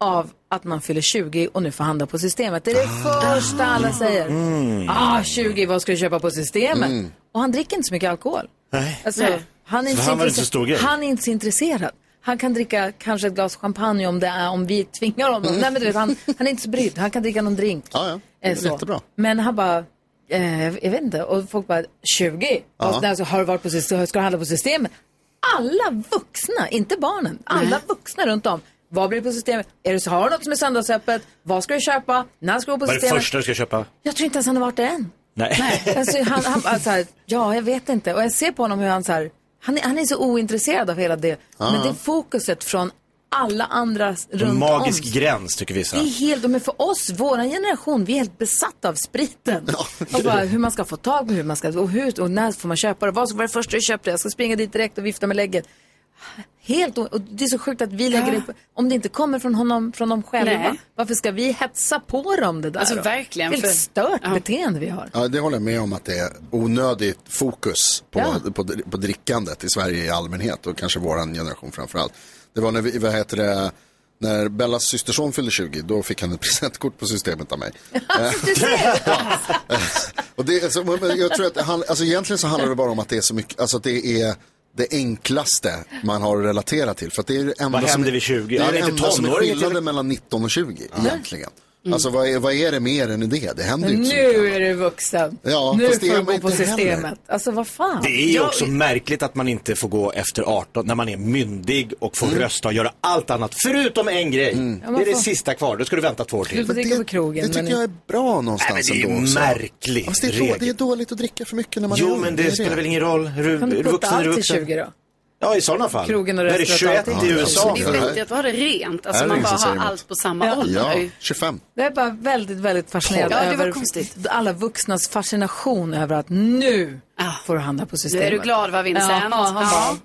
S1: av att man fyller 20 och nu får handla på systemet. Det är det
S2: Ah.
S1: första alla säger.
S3: Mm.
S1: Ah, 20, vad ska du köpa på systemet?
S3: Mm.
S1: Och han dricker inte så mycket alkohol.
S3: Nej.
S1: Alltså,
S3: Nej.
S1: han, är
S3: Så
S1: inte
S3: han var inte
S1: intresse-
S3: så stor grej?
S1: han är inte så intresserad. Han kan dricka kanske ett glas champagne om, det är, om vi tvingar honom.
S2: Mm.
S1: Nej, men du vet, han, han är inte så brydd. Han kan dricka någon drink.
S2: Ja, ja. Det
S1: Eh,
S2: är
S1: så.
S2: jättebra.
S1: Men han bara, eh, jag vet inte. Och folk bara, 20?
S2: Ja.
S1: Och, alltså, har du varit på systemet? Ska du handla på systemet? Alla vuxna, inte barnen, alla vuxna runt om. Vad blir det på systemet? Är det så, har du något som är söndagsöppet? Vad ska du köpa? När ska du gå på
S3: Vad är det
S1: systemet?
S3: första du ska köpa?
S1: Jag tror inte ens han har varit där än.
S3: Nej.
S1: Alltså, han, han bara så här, ja, jag vet inte. Och jag ser på honom hur han så här, han är, han är så ointresserad av hela det.
S3: Ja.
S1: Men det fokuset från alla andra
S3: En
S1: runt
S3: magisk
S1: om.
S3: gräns tycker vissa.
S1: Det är helt, men för oss, vår generation, vi är helt besatta av spriten. Och bara hur man ska få tag på hur man ska, och, hur, och när får man köpa det? Vad ska vara det första du köpte? Jag ska springa dit direkt och vifta med lägget. Helt, o- och det är så sjukt att vi lägger upp, om det inte kommer från honom, från dem själva,
S4: Nej.
S1: varför ska vi hetsa på dem det där?
S4: Alltså,
S1: då?
S4: verkligen,
S1: Vilket
S4: för-
S1: stört beteende vi har.
S2: Ja, det håller jag med om att det är onödigt fokus på,
S1: Ja.
S2: på, på drickandet i Sverige i allmänhet och kanske våran generation framför allt. Det var när vi, vad heter det, när Bellas systerson fyllde 20, då fick han ett presentkort på systemet av mig. Eh, Och det, alltså, men jag tror att han, alltså egentligen så handlar det bara om att det är så mycket, alltså att det är det enklaste man har att relatera till. För att det är det enda som
S3: Vad händer
S2: är,
S3: vid 20?
S2: Det
S3: Ja,
S2: är det
S3: inte
S2: enda som är
S3: tonåring, Mm.
S2: skillnaden
S3: inte-
S2: mellan 19 och 20 egentligen. Alltså vad är, vad är det mer än det? Det händer ju
S1: Men
S2: inte så
S1: nu är du vuxen.
S2: Ja,
S1: nu
S2: fast det
S1: får
S2: är
S1: du
S2: man
S1: gå på
S2: inte heller.
S1: systemet. Alltså vad fan.
S3: Det är ju
S1: Jag-
S3: också märkligt att man inte får gå efter 18 när man är myndig och får rösta och göra allt annat förutom en grej.
S1: Ja,
S3: Det
S1: man
S3: är det
S1: får-
S3: sista kvar, då ska du vänta två år till.
S1: Du får dricka på krogen.
S2: Det tycker
S1: men-
S2: jag är bra
S3: Nej,
S2: någonstans
S3: men det är
S2: ändå också.
S3: märkligt
S2: Ja, fast det, är då,
S3: regel.
S2: det är dåligt att dricka för mycket när man är
S3: Jo,
S2: ung.
S3: men det
S2: är
S3: spelar väl ingen roll. Är du,
S1: Kan du
S3: är du
S1: putta
S3: vuxen är du
S1: allt till
S3: vuxen.
S1: 20 då?
S3: Ja, i sådana fall.
S1: Krogen och
S3: Då är det
S1: rösträtt och
S3: 21
S1: allting.
S3: i
S1: Ja,
S3: USA.
S4: Det är bättre att ha det rent. Alltså
S3: Är det
S4: man
S3: ingen
S4: bara
S3: som
S4: har
S3: säger
S4: allt på samma
S1: Ja.
S4: ålder.
S1: Ja,
S2: 25.
S1: Jag är bara väldigt, väldigt fascinerad
S4: Ja, det var
S1: över
S4: konstigt.
S1: alla vuxnas fascination över att nu får du handla på systemet.
S4: Är du glad va Vincent?
S1: Ja, ja, han
S4: Ja.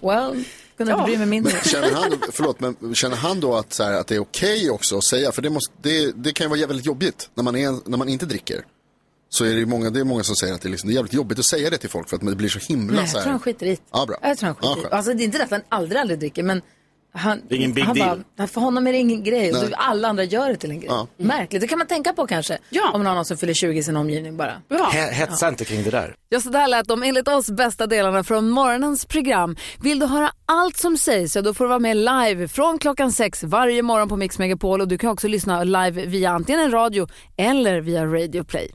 S1: bara, well, kunde inte bry mig mindre.
S2: Men känner han, förlåt, men känner han då att, så här, att det är okej också att säga? För det, måste, det, det kan ju vara väldigt jobbigt när man, är, när man inte dricker. Så är det, ju många, det är många som säger att det, är liksom, det är jävligt jobbigt att säga det till folk för att det blir så himla
S1: Nej, jag
S2: så
S1: tror
S2: här.
S1: han skiter i det.
S2: Ja, bra.
S1: Jag tror han skiter
S2: Ja,
S1: i
S2: skönt.
S1: det. Alltså det är inte det att han aldrig, aldrig dricker, men han,
S2: Det är ingen big
S1: han
S2: deal.
S1: bara, för honom är det ingen grej.
S2: Nej.
S1: Du, alla andra gör det till en grej.
S2: Ja.
S1: Märkligt, det kan man tänka på kanske. Om man har någon som fyller 20 i sin omgivning bara.
S3: He- Hetsa inte kring det där.
S19: Ja, så där lät de enligt oss bästa delarna från morgonens program. Vill du höra allt som sägs så då får du vara med live från klockan sex varje morgon på Mix Megapol och du kan också lyssna live via antingen en radio eller via Radio Play.